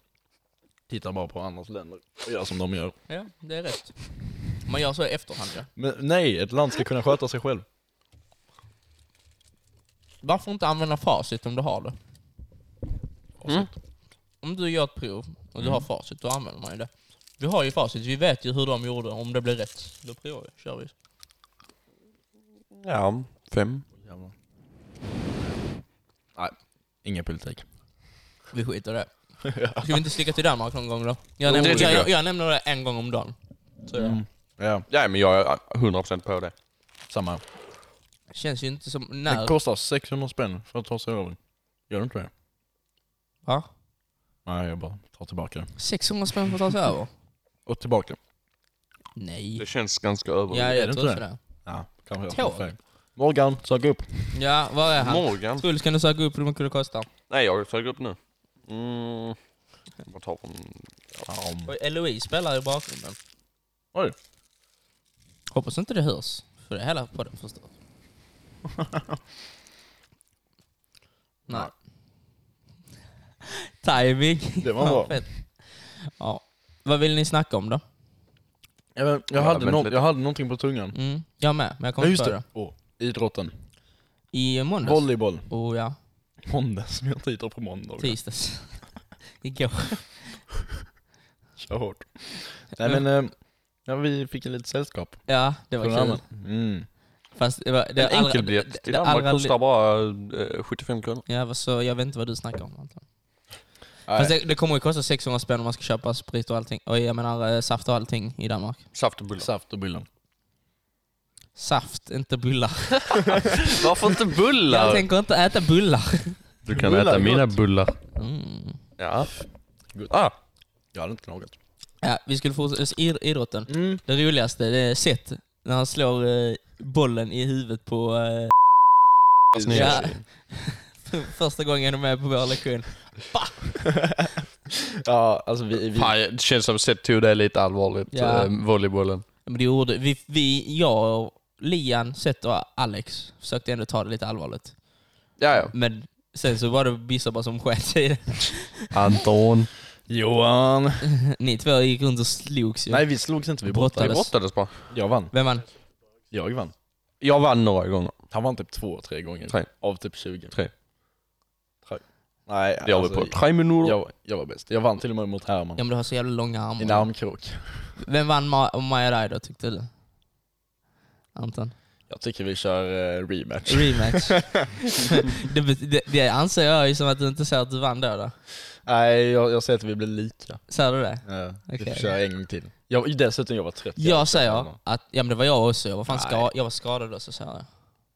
S3: tittar bara på andras länder och gör som de gör.
S4: Ja, det är rätt. Man gör så i efterhand ja.
S3: Men nej, ett land ska kunna sköta sig själv.
S4: Varför inte använda facit om du har det?
S2: Mm.
S4: Om du gör ett prov och du har facit, då använder man ju det. Vi har ju facit, vi vet ju hur de gjorde, om det blir rätt. Då provar vi, kör vi.
S2: Ja, fem.
S3: Jävlar. Nej, ingen politik.
S4: Vi skiter i det. Ska vi inte sticka till Danmark någon gång då? Jag,
S2: det
S4: nämner,
S2: tycker
S4: jag,
S2: jag. Mm.
S4: jag, nämner det en gång om dagen. Så jag.
S3: Mm. Ja,
S2: Ja, men jag är 100% på det.
S3: samma.
S4: Känns ju inte som...
S3: Det
S4: När?
S3: kostar 600 spänn för att ta sig över. Gör det inte det?
S4: Va?
S3: Nej, jag bara tar tillbaka det.
S4: 600 spänn för att ta sig över?
S3: Och tillbaka.
S4: Nej.
S2: Det känns ganska över.
S4: Ja,
S3: är det
S4: jag tror
S3: inte
S4: inte det.
S3: Ja, kanske jag tar
S4: Tåg.
S3: fel. Morgan, sök upp.
S4: Ja, var är han?
S2: Morgan?
S4: Truls, kan du söka upp hur mycket det kostar?
S2: Nej, jag söker upp nu. Mm. Bara ta från...
S4: Och Eloise spelar i bakgrunden.
S3: Oj.
S4: Hoppas inte det hörs, för det är hela podden förstås. Nej. Timing.
S3: Det var bra.
S4: Fett. ja. Vad vill ni snacka om då?
S3: Ja, men Jag,
S2: Ja,
S3: hade
S2: men
S3: någon,
S2: lite-
S3: jag hade någonting på tungan.
S4: Mm, jag med, men jag
S3: Ja
S4: kommer
S3: just
S4: inte på
S3: det.
S4: det.
S3: Åh, idrotten.
S4: I eh, måndags?
S3: Volleyboll.
S4: Oh ja,
S3: Måndag som jag inte hittar på måndag.
S4: tisdags. Igår.
S3: Kör hårt. Nej men, eh, ja, vi fick en litet sällskap.
S4: Ja, det
S3: Från
S4: var kul.
S3: Rammen. Mm.
S4: Fast det var, det
S2: En
S4: allra-
S2: enkelbiljett
S4: det-
S2: till
S4: det
S2: Danmark
S4: allra-
S2: kostar bara eh, 75 kronor.
S4: Ja, vad så jag vet inte vad du snackar om Anton. Fast
S3: Nej,
S4: det, det kommer ju kosta 600 spänn om man ska köpa sprit och allting. Och jag menar eh, saft och allting i Danmark.
S2: Saft och bullar.
S3: Saft och bullar.
S4: Saft, inte bullar.
S2: Varför inte bullar?
S4: Jag tänker inte äta bullar.
S2: Du
S3: kan Bullar äta är mina
S2: bullar.
S4: Mm.
S2: Ja.
S3: Gott.
S2: Ah,
S3: Jag hade inte klagat.
S4: Ja, vi skulle fortsätta i- idrotten.
S3: Mm.
S4: Det roligaste det är Seth när han slår eh, bollen i huvudet på... Eh,
S2: snygg.
S4: Ja. för- första gången de är på vår lektion.
S3: Ja, alltså vi... vi
S2: Fan, det känns som sett tog det lite allvarligt,
S4: Ja.
S2: eh, volleybollen.
S4: Men det gjorde vi, vi, jag, Lian, Seth och Alex försökte ändå ta det lite allvarligt.
S2: Ja, ja.
S4: Men sen så var det vissa bara som sket sig i det.
S2: Anton.
S3: Johan!
S4: Ni två gick runt och slogs ju.
S3: Nej vi slogs inte, vi brottades.
S2: Vi brottades bara.
S3: Jag vann.
S4: Vem vann?
S3: Jag vann.
S2: Jag vann några gånger.
S3: Han vann typ två, tre gånger.
S2: Tre.
S3: Av typ 20.
S2: Tre.
S3: Tre. Nej, alltså,
S2: Jag var på tre minuter.
S3: jag, jag var bäst. Jag vann till och med mot Herman.
S4: Ja men du har så jävla långa
S3: I
S4: armar.
S3: en armkrok.
S4: Vem vann Ma- och Maja Rai då tyckte du? Anton?
S3: Jag tycker vi kör eh, rematch.
S4: Rematch. det, bet- det, det anser jag ju som att du inte säger att du vann då. då.
S3: Nej, jag, jag säger att vi blir lika.
S4: Säger du det?
S3: Uh, Vi
S4: Okej.
S3: får köra en gång till. Jag, dessutom, jag var trött.
S4: Jag säger att, ja men det var jag också, jag var, fan
S3: Nej.
S4: ska, jag var skadad då så sa jag.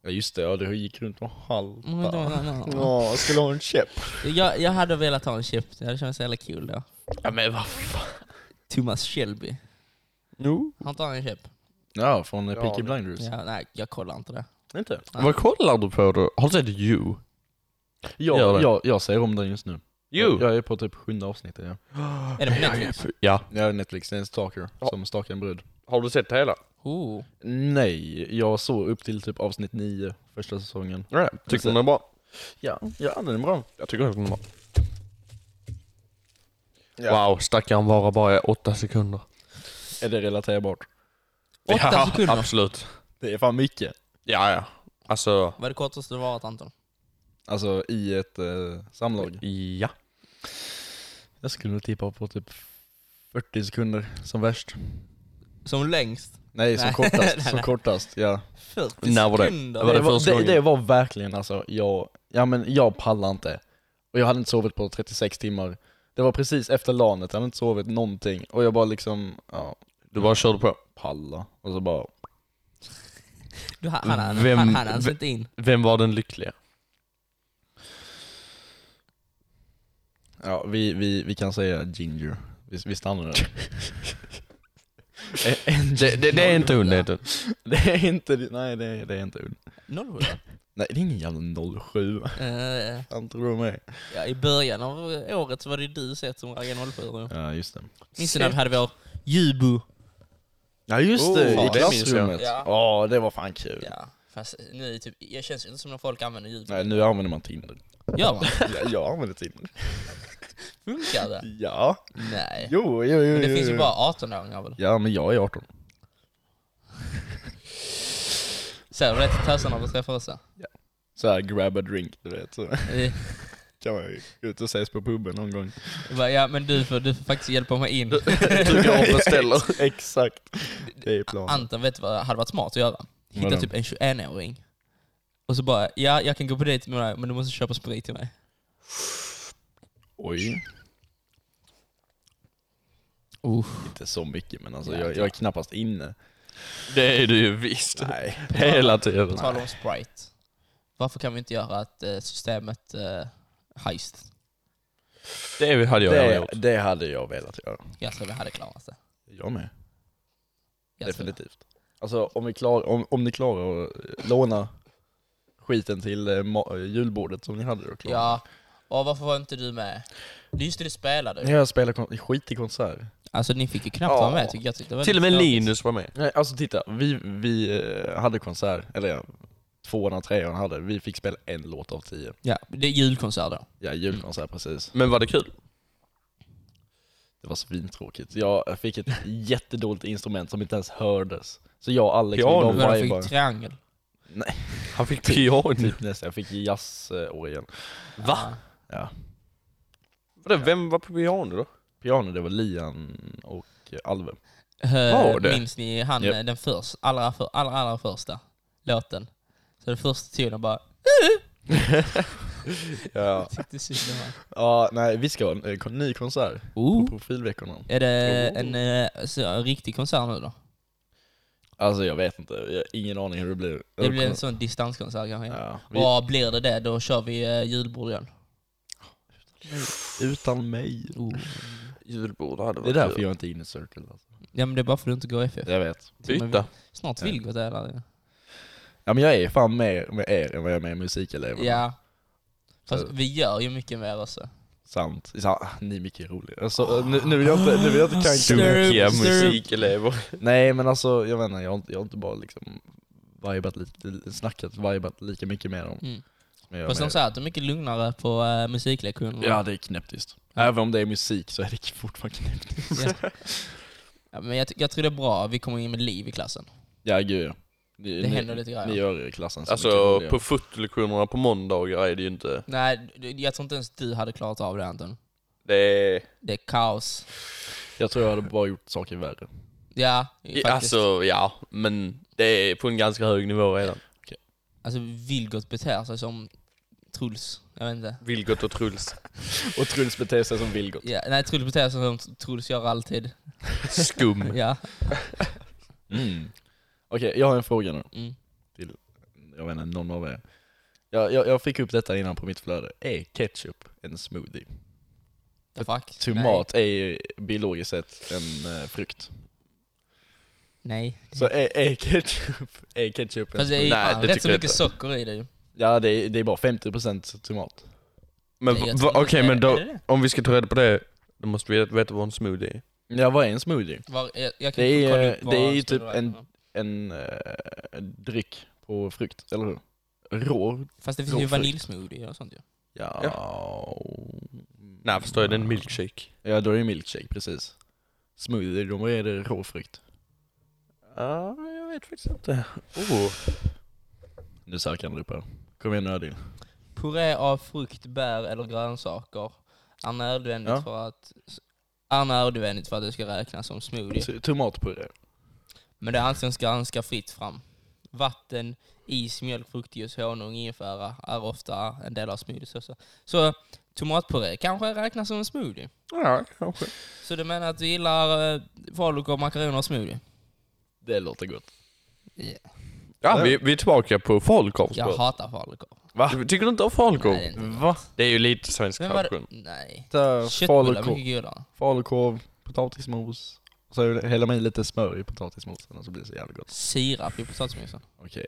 S3: Ja just det, ja, du gick runt och halta.
S4: Mm, då, då, då, då.
S3: Ja, skulle ha en käpp.
S4: Jag, jag hade velat ha en chip, det hade känts jävla kul då.
S3: Ja men vad fan.
S4: Thomas Shelby,
S2: Jo.
S4: har inte han en chip?
S3: Ja, från eh,
S2: Ja,
S3: Peaky
S2: det-
S3: Blinders.
S4: Ja, nej, jag kollar inte det.
S3: Inte?
S2: Vad kollar du på då? Har du sett You? Gör
S3: Jag,
S2: det.
S3: jag, jag säger om den just nu.
S2: You?
S3: Jag är på typ sjunde avsnittet ja.
S4: Är det på Netflix?
S2: Ja.
S3: Ja, Netflix, det är en stalker som stalkar en brud.
S2: Har du sett hela?
S4: Oh.
S3: Nej, jag såg upp till typ avsnitt nio, första säsongen.
S2: Nej,
S3: Jag
S2: tycker
S3: ser.
S2: den är bra.
S3: Ja, ja den är bra.
S2: Jag tycker den är bra.
S3: Ja.
S2: Wow, stackaren vara bara åtta sekunder.
S3: Är det relaterbart?
S4: Åtta
S2: ja,
S4: sekunder?
S2: absolut.
S3: Det är fan mycket.
S2: Ja, ja. Alltså,
S4: Vad är det kortaste du varit Anton?
S3: Alltså i ett eh, samlag.
S2: ja.
S3: Jag skulle nog tippa på typ 40 sekunder som värst.
S4: Som längst?
S3: Nej, som
S4: Nej. Nej,
S3: kortast. som
S4: nej.
S3: kortast, ja.
S4: 40
S2: När var det?
S4: sekunder?
S2: Det var det första
S3: det,
S2: gången?
S3: det var verkligen alltså, jag, ja men jag pallar inte. Och jag hade inte sovit på 36 timmar. Det var precis efter LANet, jag hade inte sovit någonting. Och jag bara liksom, ja,
S2: Du bara körde på.
S3: palla. Och så bara,
S4: Du, han han- han-
S2: Vem-
S4: han hann alltså inte in.
S2: Vem var den lyckliga?
S3: ja vi, vi, vi kan säga ginger. Vi, vi stannar där. En- en
S2: Det, det, det är inte hon, det är inte hon.
S3: Det är inte, nej det är, det är inte
S4: Noll eh,
S3: Nej det är ingen jävla 07, han tror de är.
S4: ja, I början av året så var det ju du sett som raggade 07.
S3: Ja just det.
S4: Minns du när vi hade vår Jubo?
S3: Ja just det,
S2: Oh,
S3: i
S2: det minns jag.
S3: klassrummet.
S4: Ja.
S3: Ja det var fan kul.
S4: Ja, fast nu är typ, jag känns ju inte som när folk använder Jubo.
S3: Nej nu använder man Tinder.
S4: Gör man?
S3: Ja, jag använder Tinder.
S4: Funkar det?
S3: Ja.
S4: Nej.
S3: Jo, jo, jo.
S4: Men det
S3: jo,
S4: finns ju
S3: jo.
S4: bara 18-åringar väl?
S3: Ja men jag är 18.
S4: Säger du det till tösarna du träffar också?
S3: Så här, grab a drink du vet. Så
S4: Eh,
S3: kan man ju gå ut och ses på puben någon gång.
S4: jag bara, Ja men du får, du får faktiskt hjälpa mig in.
S2: Du går och beställer.
S3: Exakt. Det är planen.
S4: Anton vet du vad hade varit smart att göra? Hitta
S3: Vadå?
S4: typ en 21-åring. Och så bara, ja jag kan gå på dejt med dig men du måste köpa sprit till mig.
S3: Oj.
S4: Uh.
S3: Inte så mycket men alltså jag, jag är knappast inne.
S2: Det är du ju visst.
S3: Nej.
S2: Typ Hela tiden.
S4: På tal om Sprite. Varför kan vi inte göra att eh, systemet eh, heist?
S2: Det hade jag gärna
S3: Det,
S2: gjort.
S3: det hade jag velat göra.
S4: Jag tror vi hade klarat det.
S3: Jag med.
S4: Jag tror det.
S3: Definitivt. Alltså om, vi klar, om, om ni klarar att eh, låna skiten till eh, ma- eh, julbordet som ni hade då klarar
S4: Ja, Åh, varför var inte du med? Just det, du spelade ju.
S3: Jag spelar kon- skit i konsert.
S4: Alltså ni fick ju knappt
S2: Ja.
S4: vara med tycker jag. Tyckte det var
S2: Till och med
S4: lite tråkigt.
S2: Linus var med.
S3: Nej, alltså titta, vi, vi eh, hade konsert, eller ja, tvåan och trean hade, vi fick spela en låt av tio.
S4: Ja, det är julkonsert då.
S3: Ja, julkonsert precis.
S2: Men var det kul?
S3: Det var svintråkigt. Jag fick ett jättedåligt instrument som inte ens hördes. Så jag och Alex,
S2: Piano.
S3: vi
S4: Men
S3: bara
S4: de
S3: vibade.
S4: fick triangel.
S2: Han fick piano.
S3: Typ nästan, jag fick eh, jazzorgeln.
S2: Va?
S3: Ja.
S2: Vadå, Vem var på piano då?
S3: Piano, det var Lian och eh, Alve.
S2: Var det?
S4: Eh, Minns ni han,
S3: Japp.
S4: eh, den först, allra, för, allra, allra första låten? Så den första tonen bara...
S3: Ja.
S4: Tyckte synd om han.
S3: ja, nej vi ska ha en eh, ny konsert på
S4: Oh.
S3: profilveckorna.
S4: Är det en, eh, så, en riktig konsert nu då?
S3: Alltså jag vet inte, jag har ingen aning hur det blir.
S4: Det blir en sån distanskonsert kanske?
S3: ja, vi,
S4: Ja, blir det det då kör vi eh, julbord igen.
S3: Utan mig.
S4: Oh,
S2: Julbord hade
S3: Det är därför jag inte är inne i Circle. Alltså.
S4: Ja men det är bara för att du inte går FF.
S3: Jag vet.
S2: Byta.
S4: Snart vill gå där. eller?
S3: Ja men jag är fan mer med er än vad jag är med musikeleverna.
S4: Ja. Fast
S3: Så-
S4: vi gör ju mycket mer också.
S3: Sant. Ja, ah, ni är mycket roligare. Alltså, nu, nu vill jag inte, nu vill jag inte kanka.
S4: Snurr.
S2: Sunkiga
S4: Stirrup, stirrup.
S2: musikelever.
S3: Nej men alltså, jag menar, jag har inte, jag har inte bara liksom vibat lite, snackat, vibat lika mycket med dem.
S4: Mm.
S3: som jag gör
S4: Fast
S3: med
S4: de
S3: er.
S4: säger att de är mycket lugnare på uh, musiklektionerna.
S3: Ja det är knäpptyst. Även om det är musik så är det fortfarande knäpptyst.
S4: Ja. Ja, men jag, ty- jag tror det är bra, vi kommer in med liv i klassen.
S3: Ja gud ja. Ni,
S4: Det
S3: ni-
S4: händer lite grejer.
S3: Ni gör er i klassen så
S2: Alltså
S3: mycket
S2: på
S3: roligare.
S2: fotolektionerna på måndagar är det ju inte...
S4: Nej, du- jag tror inte ens du hade klarat av det Anton.
S2: Det är...
S4: Det är kaos.
S3: Jag tror jag hade bara gjort saker värre.
S4: Ja, faktiskt. Alltså,
S2: Alltså ja, men det är på en ganska hög nivå redan.
S4: alltså Vilgot beter sig som Truls. Jag vet inte.
S2: Vilgot och Truls.
S3: Och Truls beter sig som Vilgot.
S4: Ja, nej, Truls beter sig som Truls gör alltid.
S2: Skum.
S4: Ja.
S3: Mm. Okej, jag har en fråga nu.
S4: Mm.
S3: Till, jag vet inte, någon av er. Jag, jag, jag fick upp detta innan på mitt flöde. Är ketchup en smoothie?
S4: The fuck?
S3: Tomat är biologiskt sett en eh, frukt.
S4: Nej. nej.
S3: Så är, är ketchup, är ketchup en
S4: Fast det är ju
S2: Nej,
S4: fan
S2: det
S4: rätt
S2: tycker
S4: så
S2: jag
S4: mycket
S2: inte.
S4: socker i det ju.
S3: Ja, det är, det är bara 50% tomat.
S2: Men
S4: Nej,
S2: va-
S4: jag
S2: va- okej,
S4: tror inte det.
S2: men då,
S4: Är det det?
S2: om vi ska ta reda på det, då måste vi veta vad en smoothie är.
S3: Ja, vad är en smoothie?
S4: Var, jag, jag kan
S3: Det är,
S4: kolla
S3: eh,
S4: upp vad
S3: det är ju
S4: som
S3: typ
S4: står
S3: en-
S4: där.
S3: En eh, dryck på frukt, eller hur? Rå?
S4: Fast det finns ju
S3: frukt.
S4: vaniljsmoothie och sånt ju.
S3: Ja.
S2: Nej, förstår jag, det är en milkshake.
S3: Ja, då är det milkshake, precis. Smoothie, då är det råfrukt.
S2: Ja, jag vet faktiskt inte. Oh.
S3: Nu söker han upp här. Kom igen nördin.
S4: Puré av frukt, bär eller grönsaker är nödvändigt,
S3: Ja.
S4: för, att, är nödvändigt för att det ska räknas som smoothie.
S3: T- Tomatpuré.
S4: Men det anses ganska fritt fram. Vatten, is, mjölk, fruktjuice, honung, ingefära är ofta en del av smoothies också. Så tomatpuré kanske räknas som en smoothie.
S2: Ja, kanske.
S4: Så du menar att du gillar eh, falukorv, makaroner och smoothie?
S3: Det låter gott.
S2: Ja, vi, vi är tillbaka på
S4: Jag
S2: falukorvsbröd.
S4: hatar falukorv.
S2: Va? Tycker du inte om falukorv?
S4: Nej, det är inte
S3: Va?
S2: Det är ju lite svensk
S4: Men vad är det-
S2: tradition.
S4: Nej. Köttbullar är
S3: Falukorv,
S4: mycket godare.
S3: falukorv, potatismos. Och så häller man i lite smör i potatismosen och så blir det så jävla gott.
S4: Sirap i potatismusen.
S3: Okej.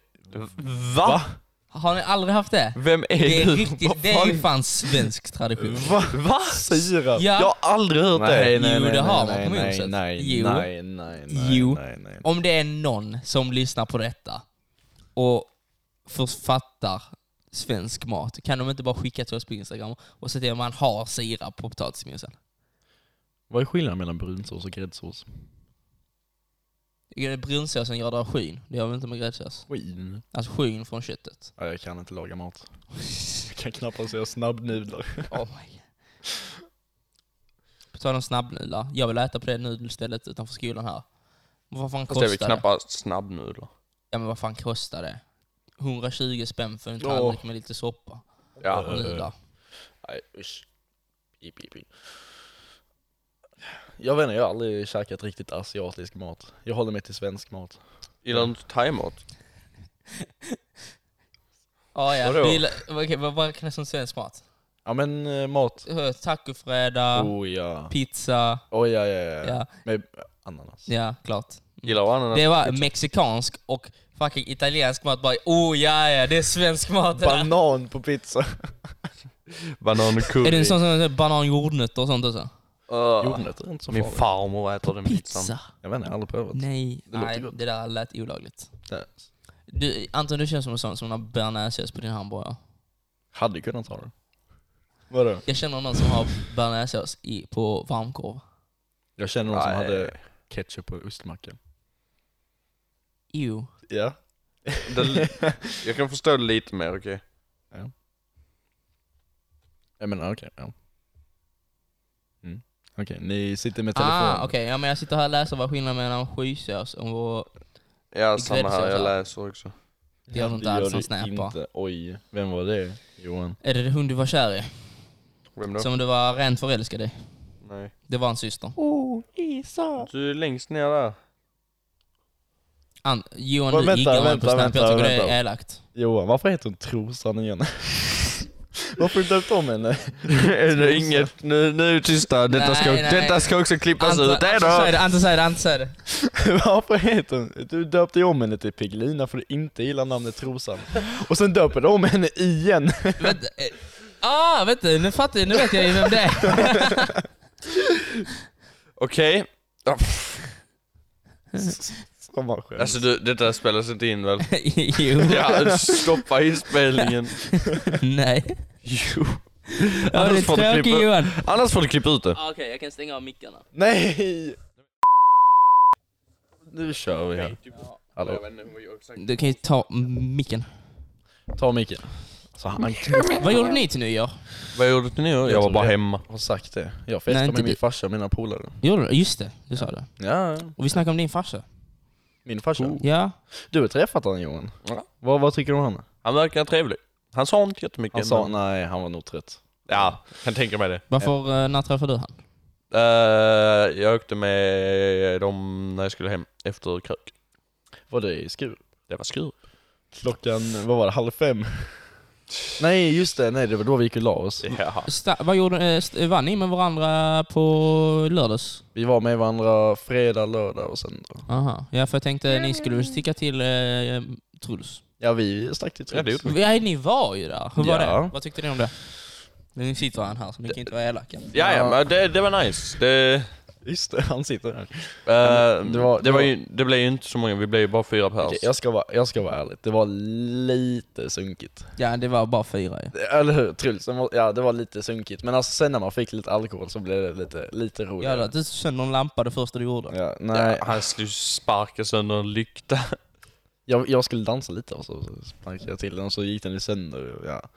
S2: Va?
S4: Har ni aldrig haft det?
S2: Vem är
S4: Det är,
S2: du?
S4: riktigt,
S2: Vad
S4: det är ju
S2: fan-
S4: fan svensk tradition.
S3: Va?
S2: Va?
S3: Sirap?
S4: Ja.
S2: Jag har aldrig hört det.
S4: Jo, det har man på
S3: nej,
S4: moset.
S3: nej,
S4: Jo.
S3: nej, nej, nej,
S4: Jo.
S3: nej, nej.
S4: Om det är någon som lyssnar på detta och författar svensk mat, kan de inte bara skicka till oss på Instagram och se till att man har sirap på potatismusen?
S3: Vad är skillnaden mellan brunsås och gräddsås?
S4: Brunsåsen gör det av skyn, det gör vi inte med gräddsås.
S3: Skinn.
S4: Alltså skyn från köttet.
S3: Ja, jag kan inte laga mat. Jag kan knappast göra snabbnudlar.
S4: Oh my god. På tal om snabbnudlar, jag vill äta på det nudelstället utanför skolan här. Men Vad fan
S2: Fast det är väl
S4: kostar det?
S2: knappast snabbnudlar.
S4: Ja men vad fan kostar det? 120 spänn för en
S3: Åh.
S4: tallrik med lite soppa.
S2: Ja.
S3: Eh.
S4: Nudlar.
S3: Nej usch. Pip, pip, pip. Jag vet inte, jag har aldrig käkat riktigt asiatisk mat. Jag håller mig till svensk mat.
S2: Gillar du inte thaimat?
S4: Ah, ja.
S2: Vadå?
S4: Du gillar- okej, Vad vad räknas som svensk mat?
S3: Ja men eh, mat.
S4: Eh, Tacofredag,
S3: Oh ja.
S4: pizza,
S3: Oh ja, ja,
S2: Äh.
S3: ja. ja.
S4: ja,
S3: Med ananas.
S4: ja klart.
S2: Gillar du ananas?
S4: Det var mexikansk och fucking italiensk mat bara oh ja ja, det är svensk mat det där.
S3: Banan på pizza.
S2: Banancurry.
S4: Är det en sån som säger banan, jordnötter och sånt också?
S2: Åh,
S3: Jordnötter är inte så
S2: Ah. Min
S3: farligt.
S2: farmor äter den pizzan.
S4: Pizza?
S3: Jag vet inte, jag har aldrig provat.
S4: Nej,
S3: Det
S4: det,
S3: låter
S4: nej,
S3: gott.
S4: det där lät olagligt.
S3: Nej.
S4: Du, Anton, du känns som en sån som har bearnaisesås på din hamburgare.
S3: Hade kunnat ha det. Vadå?
S4: Jag känner någon som har bearnaisesås i- på varmkorv.
S3: Jag känner någon som
S2: Nej.
S3: hade ketchup på ostmackan.
S4: Jo.
S3: Ja.
S2: Det, jag kan förstå det lite mer, okej?
S3: Jag menar okej, ja. Mm. Okej, ni sitter med telefonen.
S4: Ah, okej. Ja, men jag sitter här och läser vad skillnaden mellan skysås och vår...
S2: Ja, samma här. Jag
S4: gräddsås, ja.
S2: läser också.
S4: Det gör du inte alls som snappar.
S3: inte. Oj, vem var det? Johan.
S4: Är det hon du var kär i?
S2: Vem då?
S4: Som du var rent förälskad i?
S2: Nej.
S4: Det var en syster.
S2: Du är längst ner där.
S4: An- Johan,
S3: Men
S4: du
S3: vänta,
S4: iggar mig
S3: vänta,
S4: på Snap.
S3: vänta,
S4: jag tycker det
S3: vänta.
S4: är elakt.
S3: Johan, varför heter hon Trosan igen? varför har du döpt om henne?
S2: är det inget? Nu, nu tysta. Detta,
S4: Nej,
S2: ska,
S4: nej.
S2: detta ska också klippas
S4: Anton,
S2: ut. Hej
S4: Anton säger
S2: då!
S4: det, Anton säger det, Anton säger det.
S3: varför heter hon... Du döpte ju om henne till Piglina för du inte gillar namnet Trosan. Och sen döper du om henne igen.
S4: Vänta. eh, Ah, vet du, nu fattar jag, nu vet jag ju vem det är.
S2: Okej. Ja, pff,
S3: Som var skönt.
S2: Alltså du, detta spelas inte in väl?
S4: jo.
S2: Ja, stoppa inspelningen.
S4: Nej.
S2: Jo.
S4: Ja, det
S2: Annars får
S4: är
S2: du
S4: tråkigt
S2: klippa,
S4: Johan.
S2: annars får du klippa ut det.
S4: Ah, Okej, jag kan stänga av mickarna.
S3: Nej! Nu kör vi här. Hallå.
S4: Du kan ju ta micken.
S3: Ta micken. Så han
S4: Vad gjorde ni till nyår?
S2: Vad gjorde du nu? Jag var bara hemma.
S3: har sagt det. Jag
S4: Nej,
S3: festade
S4: inte
S3: med min
S4: du.
S3: farsa och mina polare.
S4: Gjorde du? Just det, du sa det.
S3: Ja,
S4: Och vi snackade om din farsa.
S3: min farsa.
S4: Ja.
S3: Du har träffat han Johan.
S2: Ja.
S3: Vad, vad tycker du om han?
S2: Han verkar trevlig. Han sa inte jättemycket.
S3: Han sa
S2: men-
S3: nej, han var nog trött.
S2: Ja, kan tänka mig det.
S4: Varför, eh, när träffade du han?
S2: Eh, jag åkte med dem när jag skulle hem efter krök.
S3: Var det i skur?
S2: Det var skur.
S3: Klockan, vad var det, halv fem? nej just det, nej det var då vi gick och la oss.
S2: Ja.
S4: Sta- vad gjorde, eh, st- vann ni med varandra på lördags?
S3: Vi var med varandra fredag, lördag och sen då.
S4: Aha. Ja, för jag tänkte ni skulle väl sticka till eh, Truls.
S3: Ja vi stack till Troms.
S2: Ja, det gjorde
S4: Ja, ni var ju där. Hur var
S3: Mm. Ja.
S4: det? Vad tyckte ni om det? Nu sitter han här, så ni kan inte vara elaka.
S2: Ja, ja, men det, det var nice. Det,
S3: Just det, han sitter där.
S2: eh,
S3: det
S2: det,
S3: var-
S2: var,
S3: det var-
S2: ju, det blev ju inte så många, vi blev ju bara fyra pers.
S3: Okej, jag, ska vara, jag ska vara ärlig, det var lite sunkigt.
S4: Ja, det var bara fyra ju.
S3: Eller hur? Trulsen var, ja det var lite sunkigt. Men alltså sen när man fick lite alkohol så blev det lite, lite
S4: Ja,
S3: roligare.
S4: då, du kände en lampa det första du gjorde.
S3: Ja,
S2: Ja,
S3: nej,
S2: han skulle ju sparka sönder en lykta.
S3: jag, jag skulle dansa lite och så sparkade jag till den och så gick den i sönder och ja.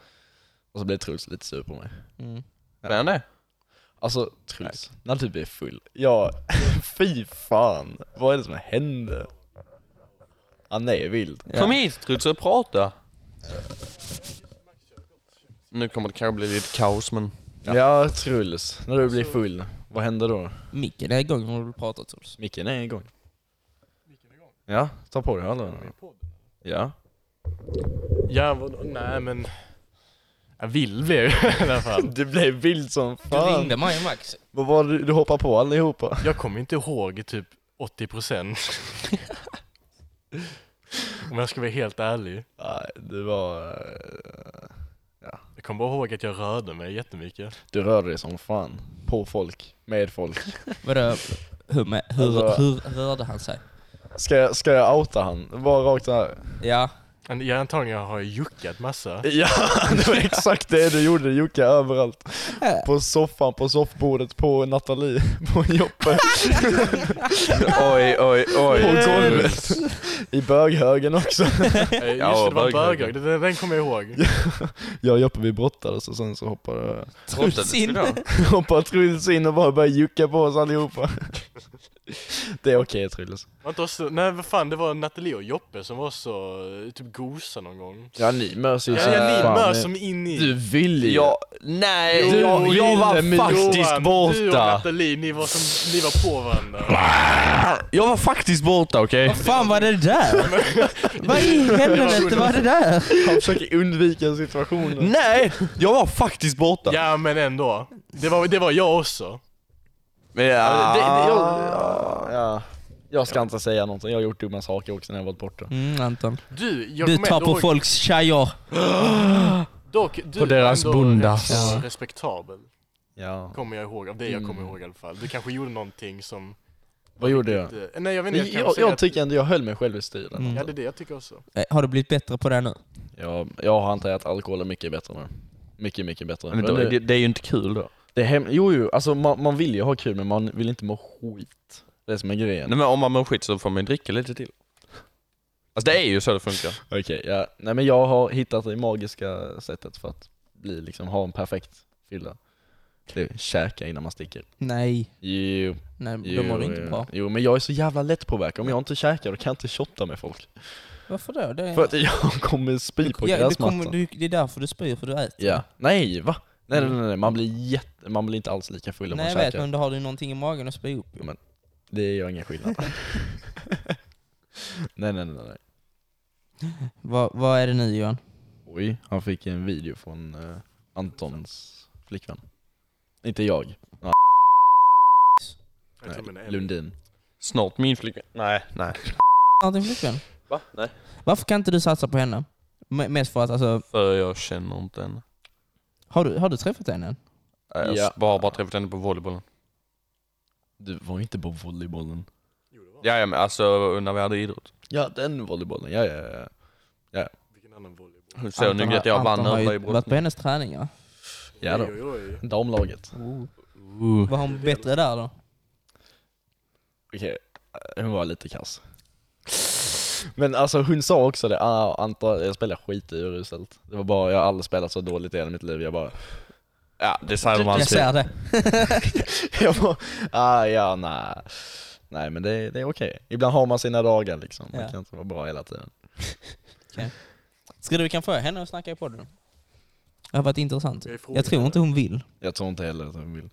S3: Och så blev Truls lite sur på mig.
S4: Mm.
S2: Men nej.
S3: Alltså Truls, när du blir full, ja, fy fan. Vad är det som hände? Han är vild.
S2: Kom hit Truls och prata. Nu kommer det kanske bli lite kaos men...
S3: Ja. Truls, när du blir full, vad händer då?
S4: Micken är igång när du pratar Truls.
S3: Micken är igång. Ja, ta på dig hörlurarna. Ja.
S5: Ja, vadå? Nej men... Jag vill bli i alla fall.
S3: Du blev vild som
S4: Du
S3: fan.
S4: ringde mig Max.
S3: Vad var det, du hoppade på allihopa?
S5: Jag kommer inte ihåg typ 80 procent. Om jag ska vara helt ärlig.
S3: Nej, du var... eh,
S5: Jag kommer bara ihåg att jag rörde mig jättemycket.
S3: Du rörde dig som fan. På folk, med folk.
S4: Vadå? Hur, med, hur,
S3: Alltså-
S4: hur rörde han sig?
S3: Ska jag, ska jag outa han? Bara rakt här.
S4: Ja.
S5: Men Jag antagligen har jag juckat massa.
S3: Ja, det var exakt det du gjorde. Du juckade överallt. På soffan, på soffbordet, på Nathalie, på Joppe,
S2: Oj, oj, oj.
S3: på golvet. I böghögen också.
S5: Eh, Just
S2: Ja,
S5: det, det var en
S2: böghögen.
S5: böghög. Den, den kommer jag ihåg.
S3: Jag och Joppe vi brottades och sen så hoppade,
S2: Truls in.
S3: hoppade Truls in och bara började jucka på oss allihopa. Det är okej Truls.
S5: Var inte oss, nej vad fan, det var Nathalie och Joppe som var så eh, typ gosa någon gång.
S3: Ja ni mös ju
S5: Ja, ja ni mörs som in i.
S3: Du ville ju.
S2: Ja, nej,
S5: Jo,
S2: jag, jag var
S3: Wilhelm,
S2: faktiskt
S5: Johan, Du och
S2: borta.
S5: Nathalie, ni var, som, ni var på varandra.
S2: Jag var faktiskt borta okej?
S4: Vad fan var det där? Vad i helvete var det där?
S3: Han försöker undvika situationen.
S2: Nej, jag var faktiskt borta.
S5: Ja men ändå. Det var, det var jag också.
S2: Men ja.
S3: Det, det, jag, ja. jag ska inte säga någonting, jag har gjort dumma saker också när jag varit borta.
S4: Mm, Anton.
S5: Du, jag
S4: Du
S5: kommer
S4: tar
S5: ändå
S4: på
S5: ihåg-
S4: folks tjejer.
S5: Dock, du
S2: På deras
S5: var ändå
S2: bundas.
S5: rätt så
S4: Ja.
S5: respektabel,
S3: Ja.
S5: kommer jag ihåg. Av det jag kommer
S3: Mm.
S5: ihåg i alla fall. Du kanske gjorde någonting som...
S3: Vad gjorde jag?
S5: inte- Nej jag vet inte,
S3: Jag,
S5: jag kan
S3: jag,
S5: säga
S3: jag
S5: att-
S3: tycker ändå jag höll mig själv i stilen.
S4: Mm.
S5: Ja det är det jag tycker också.
S4: Eh, Har du blivit bättre på det nu?
S3: Jag, jag har antar att alkohol är mycket bättre nu. Mycket, mycket bättre.
S2: Men
S3: För
S2: då,
S3: nu-
S2: det, det är ju inte kul då.
S3: det är hem, jo, jo, alltså man, man vill ju ha kul men man vill inte må skit. Det är som är grejen.
S2: Nej, men om man mår skit så får man ju dricka lite till. Alltså det är ju så det funkar.
S3: Okej, ja. Nej men jag har hittat det magiska sättet för att bli, liksom, ha en perfekt fylla. Det är käka innan man sticker.
S4: Nej.
S3: Jo,
S4: Nej, då
S3: jo,
S4: mår du inte
S3: jo.
S4: bra.
S3: Jo, men jag är så jävla lättpåverkad. Om jag inte käkar då kan jag inte shotta med folk.
S4: Varför då? Det är...
S3: För att jag kommer spy på
S4: ja, det,
S3: gräsmattan.
S4: kommer, du, det är därför du spyr, för du äter.
S3: Ja. Nej, va? Nej, nej, nej, nej. Man, blir jätte, man blir inte alls lika full om
S4: Mm. Nej, jag
S3: man
S4: vet,
S3: käkar.
S4: men då har du någonting i magen att spy upp.
S3: Ja, men- Det gör ingen skillnad. nej, nej, nej, nej.
S4: Vad, vad är det nu Johan?
S3: Oj, han fick en video från eh, Antons flickvän. Inte jag.
S5: Jag tror men det
S3: Nej,
S5: är-
S3: Lundin.
S2: Snart min flickvän. Nej, nej.
S4: Har din flickvän?
S2: Va? Nej.
S4: Varför kan inte du satsa på henne? M- mest för att alltså,
S2: För jag känner inte henne. Äh,
S4: har du, har du träffat henne än?
S2: Jag har
S3: Ja.
S2: bara, bara träffat henne på volleybollen.
S3: Du var inte på volleybollen.
S5: Jo, det var.
S2: Ja, ja, men alltså när vi hade idrott.
S3: Ja, den volleybollen. Ja, ja, ja.
S5: Vilken annan volleyboll.
S2: Så nu att jag vann
S4: Anton har
S2: över
S4: ju
S2: i
S4: varit
S2: brott.
S4: på hennes träningar.
S3: Ja då.
S5: Oj, oj, oj.
S3: Damlaget.
S4: Var hon bättre där då?
S3: Okej, eh, hon var lite kass. Men alltså hon sa också det, ah, Anta, jag spelar skituruselt. Det var bara, jag har aldrig spelat så dåligt i hela mitt liv. Jag bara,
S2: Ja, det säger de
S4: Jag
S2: alltid.
S4: ser det.
S3: jag bara, ah, ja, nej. Nej men det, det är okej. Ibland har man sina dagar liksom. Man
S4: Ja.
S3: kan inte vara bra hela tiden.
S4: Ska du kan få henne att snacka i podden? Det har varit intressant.
S5: Jag är frågande.
S4: Jag tror inte hon vill.
S3: Jag tror inte heller att hon vill.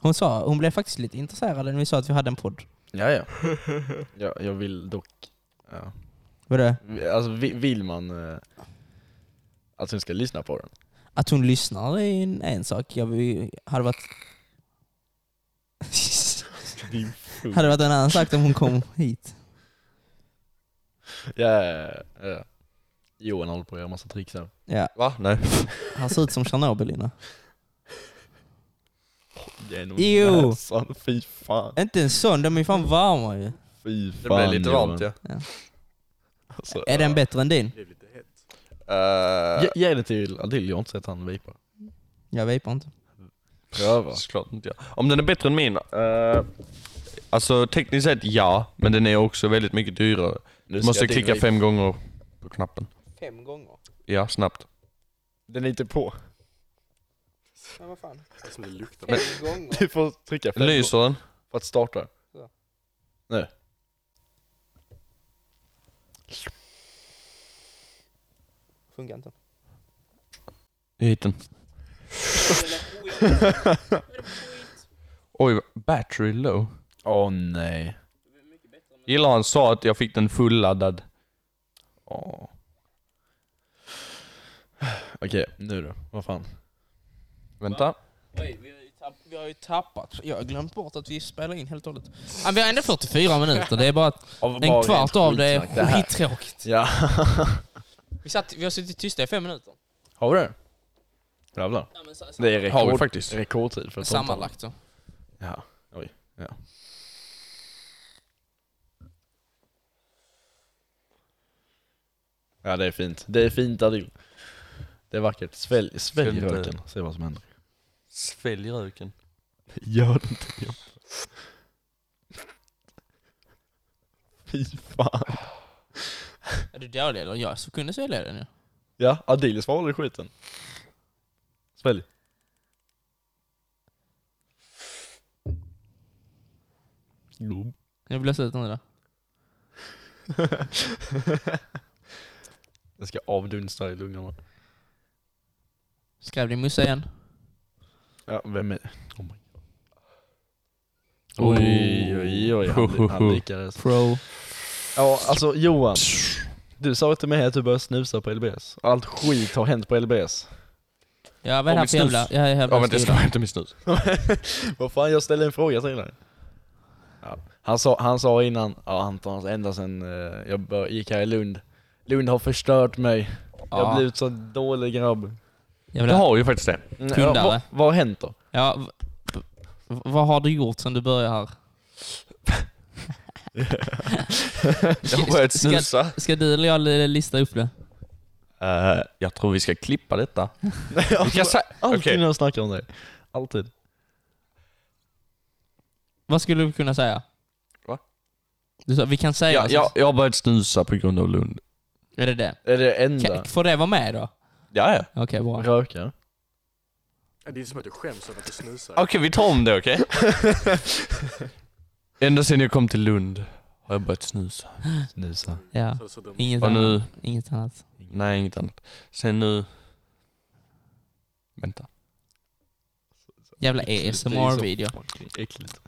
S4: Hon, sa, hon blev faktiskt lite intresserad när vi sa att vi hade en podd.
S3: Ja, ja. ja jag vill dock, ja.
S4: Vadå?
S3: Alltså vi- vill man eh, att hon ska lyssna på den?
S4: Att hon lyssnar är en, en sak. Jag vill- hade varit... hade varit en annan sak om hon kom hit.
S3: Ja, ja, ja, ja. Johan håller på att göra massa tricks här.
S4: Ja,
S2: Va? Nej.
S4: han ser ut som Tjernobyl innan.
S3: Genom
S4: Jo.
S3: näsan, fy fan.
S4: Inte en sån, de är fan varma ju.
S3: Fy
S2: Det
S3: fan
S2: blev lite
S3: Johan.
S2: varmt ja.
S3: Alltså,
S4: Är den bättre än din?
S5: Det blev lite hett.
S2: Uh,
S3: Ge, ge det till Adil, jag har inte sett han vejpa.
S4: Jag vejpar inte.
S3: Pröva.
S2: Såklart inte jag. Om den är bättre än min? eh, alltså tekniskt sett ja, men den är också väldigt mycket dyrare.
S3: Nu
S2: Du
S3: ska
S2: måste
S3: Adil
S2: klicka
S3: vejpa.
S2: fem gånger på knappen.
S4: Fem gånger?
S2: Ja, snabbt.
S3: Den är inte på.
S4: Ja, vad fan.
S5: Det är som det luktar.
S4: Fem gånger?
S3: Du får trycka fem
S2: Lyser den?
S3: gånger för att starta.
S4: Så.
S3: Nu.
S4: Funkar inte.
S2: Jag hittade den. Oj, battery low.
S3: Åh nej.
S2: Gillar han sa att jag fick den fulladdad.
S3: Åh. Okej, nu då. Vad fan.
S2: Vänta.
S4: Oj, vi har ju tapp- vi har ju tappat. Jag har glömt bort att vi spelar in helt och hållet. Ja, vi har ändå 44 minuter. Det är bara att en kvart av det är
S3: här.
S4: skittråkigt.
S3: Ja.
S4: Vi, satt, vi har suttit tysta i fem minuter.
S3: Har vi det? Jävlar.
S4: Ja, men, så, så,
S3: Det är rekord,
S2: Har vi faktiskt.
S3: rekordtid för ett samtal.
S4: sammanlagt så.
S3: Ja. Oj. Ja. Ja det är fint. Det är fint Adil. Det är vackert. Svälj, svälj
S2: Ska inte-
S3: röken. Se vad som händer.
S2: Svälj röken.
S3: Gör det inte Jobb. Fy fan.
S4: Är du dålig eller? Jag så kunde svälja den ju.
S3: Ja, Adil svalde i skiten. Svälj. Jo.
S4: Jag blåser ut den där.
S3: Den ska avdunsta i lungorna.
S4: Skrev din mussa igen?
S3: Ja, vem är oh my God.
S2: Oh.
S3: Oj, oj, oj. Han, han lyckades.
S4: Pro.
S3: Ja, alltså Johan. Du sa till mig att du började snusa på LBS. Allt skit har hänt på LBS.
S4: Ja, vad är det
S2: Om
S4: här
S2: vi
S4: för jävla...
S2: snus.
S4: Ja, jag
S2: Ja, vänta,
S4: jävla
S2: jag
S4: stil.
S2: ska hämta min snus.
S3: Vad fan, jag ställde en fråga till dig. Ja. Han, sa, han sa alltså, innan, ja Anton, ända sen eh, jag bör, gick här i Lund. Lund har förstört mig. Jag har blivit så dålig grabb.
S4: jag
S2: Det
S4: vill ha...
S2: har ju faktiskt det.
S3: Mm,
S4: Kundare.
S3: ja, vad, vad har hänt då?
S4: ja, v- v- vad har du gjort sen du började här?
S2: Jag har börjat
S4: Ska-
S2: snusa.
S4: Ska du eller jag li- lista upp det?
S2: Eh, jag tror vi ska klippa detta. Vi kan säga...
S3: Alltid
S2: Okej.
S3: när jag snackar om det. Alltid.
S4: Vad skulle du kunna säga?
S2: Va?
S4: Du sa, vi kan säga...
S2: Ja,
S4: så-
S2: jag, jag har börjat snusa på grund av Lund.
S4: Är det det?
S3: Är det
S4: Kan,
S3: enda?
S4: får det vara med då?
S2: Ja, ja.
S4: Okej, bra.
S3: Röka?
S5: Det är som att du skäms över att du snusar.
S2: Okej, vi tar om det, okej? Ända sedan jag kom till Lund har jag börjat snusa.
S3: Snusa.
S4: Ja.
S5: Så, så dumt.
S4: Inget
S2: Och
S4: annat.
S2: nu...
S4: Inget annat.
S2: Nej, inget annat. Sen nu... Vänta.
S4: Jävla E
S3: Äckligt. Det är
S4: ASMR-video.
S3: så fucking Äckligt.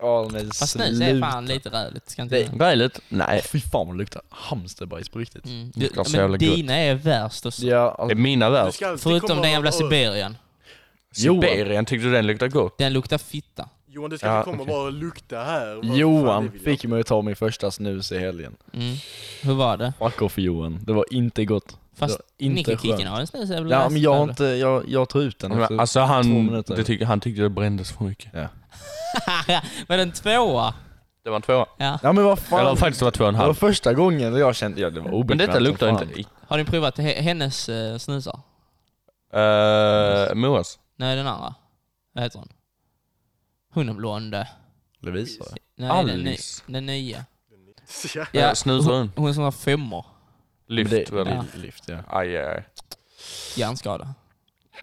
S3: Ja men
S4: Fast snus är fan lite rödligt, ska inte
S3: Det-
S4: jag
S2: Röjligt?
S3: Nej.
S2: Nej.
S3: Fy fan vad det luktar hamsterbajs på riktigt.
S4: mm.
S2: Det
S4: Du,
S2: ska vara så jävla
S4: Men
S2: gott.
S4: dina är värst och så.
S3: Ja,
S2: Det är
S3: alltså,
S2: mina
S5: Du
S2: värld.
S5: ska alltid
S4: Förutom
S5: komma
S4: den jävla
S5: och-
S4: Sibirien.
S3: Johan.
S2: Sibirien, tyckte du den luktade gott?
S4: Den luktar fitta.
S5: Johan, du ska
S2: Ja,
S5: inte komma
S2: okej.
S5: och bara lukta här. Vad fan, det
S3: Johan
S5: vill jag
S3: fick
S5: inte.
S3: mig att ta min första snus i helgen.
S4: Mm. Hur var det?
S3: Fuck off Johan, det var inte gott.
S4: Fast
S3: det var inte
S4: Nicke-kicken
S3: skönt.
S4: har en snus är väl
S3: Ja
S4: värst,
S3: men jag har
S4: eller?
S3: inte, jag, jag tar ut den
S2: Men,
S3: efter
S2: alltså
S3: två
S2: han,
S3: minuter.
S2: det tyck, han tyckte det brändes för mycket.
S4: Men en tvåa?
S2: Det var en tvåa.
S4: Ja.
S3: Ja men vad fan.
S2: Eller faktiskt det var två och en
S3: det var
S2: halv.
S3: första gången jag kände, ja det var
S2: Men
S3: obekvämt
S2: detta
S3: som
S2: luktar
S3: fan.
S2: inte...
S4: Har ni provat he- hennes eh, snusar?
S2: Uh, Moas.
S4: Nej, den andra. Vad heter hon? Hon är blond. Nej,
S3: Lovisa.
S4: den, ny-
S2: Alice.
S4: den nya.
S5: Ja. alltså,
S4: Ja,
S2: Ja, snusar hon?
S4: Hon som har femmor.
S2: Lyft
S3: Det-
S2: väl?
S4: Ja.
S3: Lyft ja.
S2: Aj, aj, aj.
S4: Hjärnskada.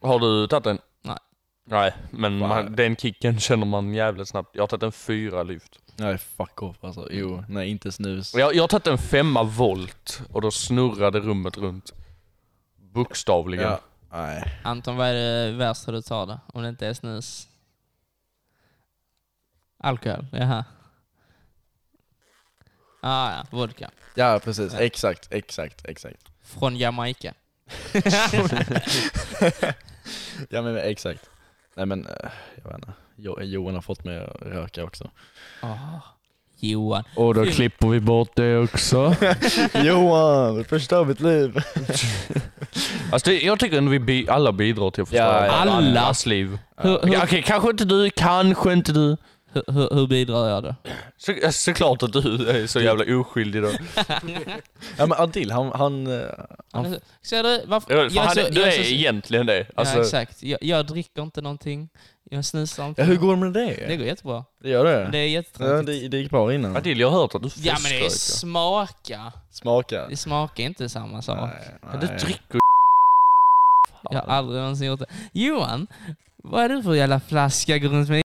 S2: Har du tagit en?
S4: Nej.
S2: Nej, men
S3: Fan.
S2: man, den kicken känner man jävligt snabbt. Jag har tagit en fyra lyft.
S3: Nej fuck off alltså. Jo, nej inte snus.
S2: Och Jag, jag har tagit en femma volt och då snurrade rummet runt. Bokstavligen.
S3: Ja. Nej.
S4: Anton, vad är det värsta du tar då? Om det inte är snus? Alkohol? Jaha. Ah, ja, vodka.
S3: Ja precis, exakt, exakt, exakt.
S4: Från Jamaica.
S3: Ja men exakt. Nej men, eh, jag vet inte. Jo- Johan har fått mig att röka också.
S4: Ah, Johan.
S2: Och då
S4: Fy.
S2: klipper vi bort det också.
S3: Johan, du förstör mitt liv.
S2: Alltså det, jag tycker ändå vi bi- alla bidrar till att förstöra
S3: Ja,
S4: ja.
S2: allas liv.
S4: Hur,
S2: Okej,
S4: hur,
S2: kanske inte du, kanske inte du.
S4: hur, hur, hur bidrar jag då?
S2: Så, såklart att du är så jävla oskyldig då.
S3: Ja men Adil, han, han, eh,
S4: Han är så- Ser du? Varför?
S2: För
S4: jag
S2: han,
S4: så-
S2: du
S4: jag
S2: är
S4: så-
S2: egentligen det. Alltså,
S4: ja, exakt. Jag, jag dricker inte någonting. Jag snusar inte.
S3: ja, hur går det med
S4: Det
S3: det?
S4: går jättebra.
S3: Det gör det?
S4: Det är
S3: ja,
S4: jättetråkigt.
S3: det, det gick bra innan.
S2: Adil, jag har hört att du
S4: Ja men det är
S2: feströker.
S4: smaka.
S3: Smaka.
S4: Det smakar inte samma sak.
S3: Nej,
S2: Ja, Du
S3: nej.
S2: dricker
S4: Jag har aldrig någonsin gjort det. Johan, vad är du för jävla flaska går runt med?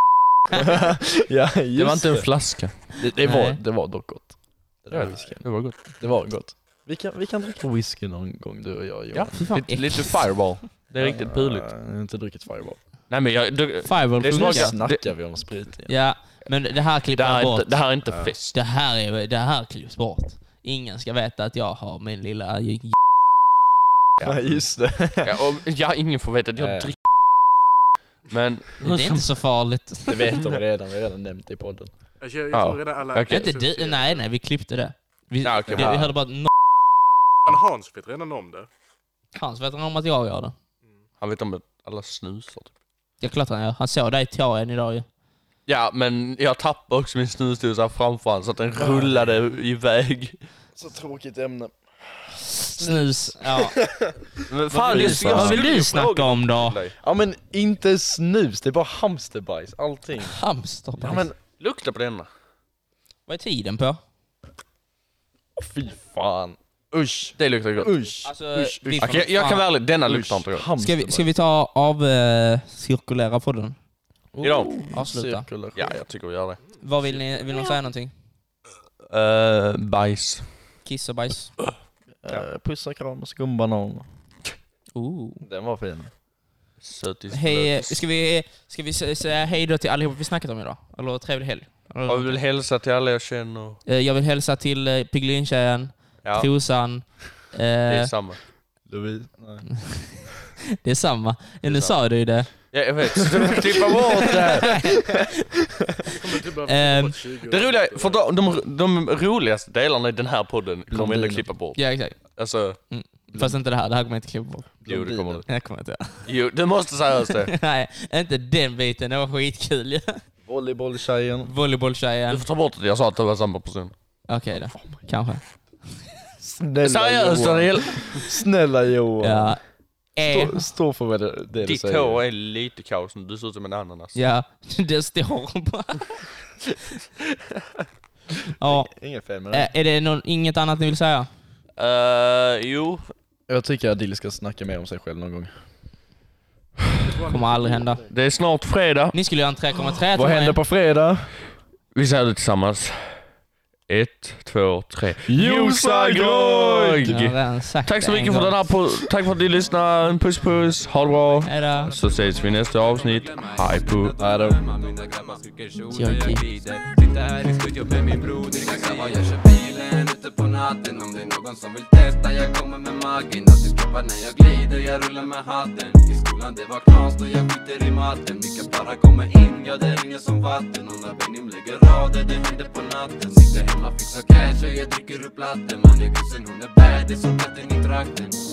S3: ja, just
S2: Det var inte en flaska.
S3: det, det, var,
S4: Nej.
S3: det var dock gott. Det
S2: Ja,
S3: var, whisky.
S2: Det var gott.
S3: det var gott. Vi kan, vi kan dricka whisky någon gång du och jag Johan.
S4: Fy fan,
S2: Lite, lite
S4: äckligt.
S2: fireball. Det är riktigt puligt.
S3: Jag har inte druckit Fireball.
S2: Nej men jag, du,
S4: Fireball
S2: Det
S3: Nu
S2: smakar-
S4: funkar.
S3: snackar vi om sprit igen.
S4: Ja, men det här
S2: det,
S4: klipper
S2: här
S4: jag
S2: är
S4: bort.
S2: inte, det här är inte
S3: Ja.
S2: fest.
S4: Det här, är, det här klipps bort. Ingen ska veta att jag har min lilla... j- j-
S3: Ja, just det.
S2: Ja, och, ja, ingen får veta att jag
S3: Nej.
S2: dricker. Men...
S4: Det är inte så farligt.
S3: Det vet de redan, vi har redan nämnt det i podden.
S5: Alltså, jag, jag
S2: Ja.
S5: tror redan alla...
S2: Okej.
S4: Inte du, nej, nej, vi klippte det. Vi,
S2: Ja, okej.
S4: vi, vi hörde bara att någon
S5: Men Hans vet redan om det.
S4: Hans vet om att jag gör det.
S2: Han vet om att alla snusar. Typ.
S4: Ja, klart han gör. Han såg dig i teatern idag ju.
S2: Ja, men jag tappade också min snusdosa framför honom så att den rullade iväg.
S3: Så tråkigt ämne.
S4: Snus. Ja.
S2: Men
S4: Vad
S2: fan,
S4: vill
S2: jag
S4: du-
S2: skulle-
S4: vad
S2: jag
S4: vill
S2: skulle ju
S4: du snacka
S2: fråga
S4: om då?
S2: till dig.
S3: Ja men inte snus, det är bara hamsterbajs, allting.
S4: Hamster.
S3: Ja men,
S2: Lukta på denna.
S4: Vad är tiden på?
S3: åh, fy fan.
S2: Usch. Det luktar gott.
S3: Usch,
S4: Alltså,
S3: usch,
S4: vi
S3: usch.
S4: får-
S2: Okej, jag kan vara ärlig, denna luktar inte gott.
S4: Ska vi, ska vi ta av eh, cirkulera podden?
S2: Idag.
S4: Avsluta.
S2: Ja, jag tycker vi gör det.
S4: Vad vill ni, vill ni säga någonting?
S2: Uh, bajs.
S4: Kiss och bajs?
S3: Eh, Puss och kram och skumbanan.
S4: Ooh.
S3: Den var fin.
S2: Sötis.
S4: Hej, eh,
S2: blötis.
S4: ska vi, ska vi sä- säga hej då till allihopa vi snackat om idag? Eller trevlig helg? Eller-
S2: Jag vill hälsa till alla jag känner.
S4: Eh, Jag vill hälsa till eh, Piggelintjejen,
S2: Ja,
S4: Trosan, eh,
S2: det är samma.
S3: Louise? Nej.
S4: det är samma. Ja, nu sa du ju det.
S2: Ja, jag vet, så du får klippa bort det typ här.
S5: Kommer typ behöva
S4: Ehm,
S5: ta bort 20
S2: eh. Det roliga, för de, de, de roligaste delarna i den här podden kommer vi ändå klippa bort.
S4: Ja, exakt.
S2: Alltså,
S4: Fast inte det här. Det här kommer jag inte klippa bort.
S2: jo det kommer du.
S4: Det här kommer jag inte göra.
S2: Jo, du måste seriöst det.
S4: Nej, inte den biten. Det var skitkul ju.
S3: Volleybolltjejen.
S2: Du
S4: Volleybolltjejen.
S2: får ta bort det, jag sa att det var samma person.
S4: Okej då. Kanske.
S3: Snälla
S2: Seriöst
S3: Johan.
S2: Daniel!
S3: Snälla Johan.
S4: Ja. E.
S3: Stå, stå för vad det, det du
S2: Ditt
S3: säger.
S2: hår är lite kaos, du ser ut som en ananas.
S4: Ja, det står bara. Ja.
S3: Ingen fel med det.
S4: Ä- Är det någon, inget annat ni vill säga?
S2: Eh, jo,
S3: Jag tycker att Adil ska snacka mer om sig själv någon gång.
S4: Kommer aldrig hända.
S2: det är snart fredag.
S4: Ni skulle göra en 3,3
S3: Vad händer på fredag?
S2: Vi säger det tillsammans. Ett, två, tre.
S3: Josa Grog!
S2: Tack så mycket för den här po- Tack för att ni lyssnade. En puss puss. Ha det bra.
S4: Hejdå.
S2: Så ses vi i nästa avsnitt. Hej på.
S3: Hallå.
S1: Mina grabbar skriker
S4: Jag
S1: kjolar,
S4: är
S1: jag glider Sitter här i studion med min broder Exakt vad jag kör bilen ute på natten Om det är någon som vill testa, jag kommer med magen Alltid droppar när jag glider, jag rullar med hatten I skolan det var knas då jag skiter i matten Mycket bara kommer in, ja det ringer som vatten Och när Benim lägger rader, det händer på natten Sitter hemma, fixar cash och jag dricker upp latten Man är kusin, hon är bad, det är som katten i trakten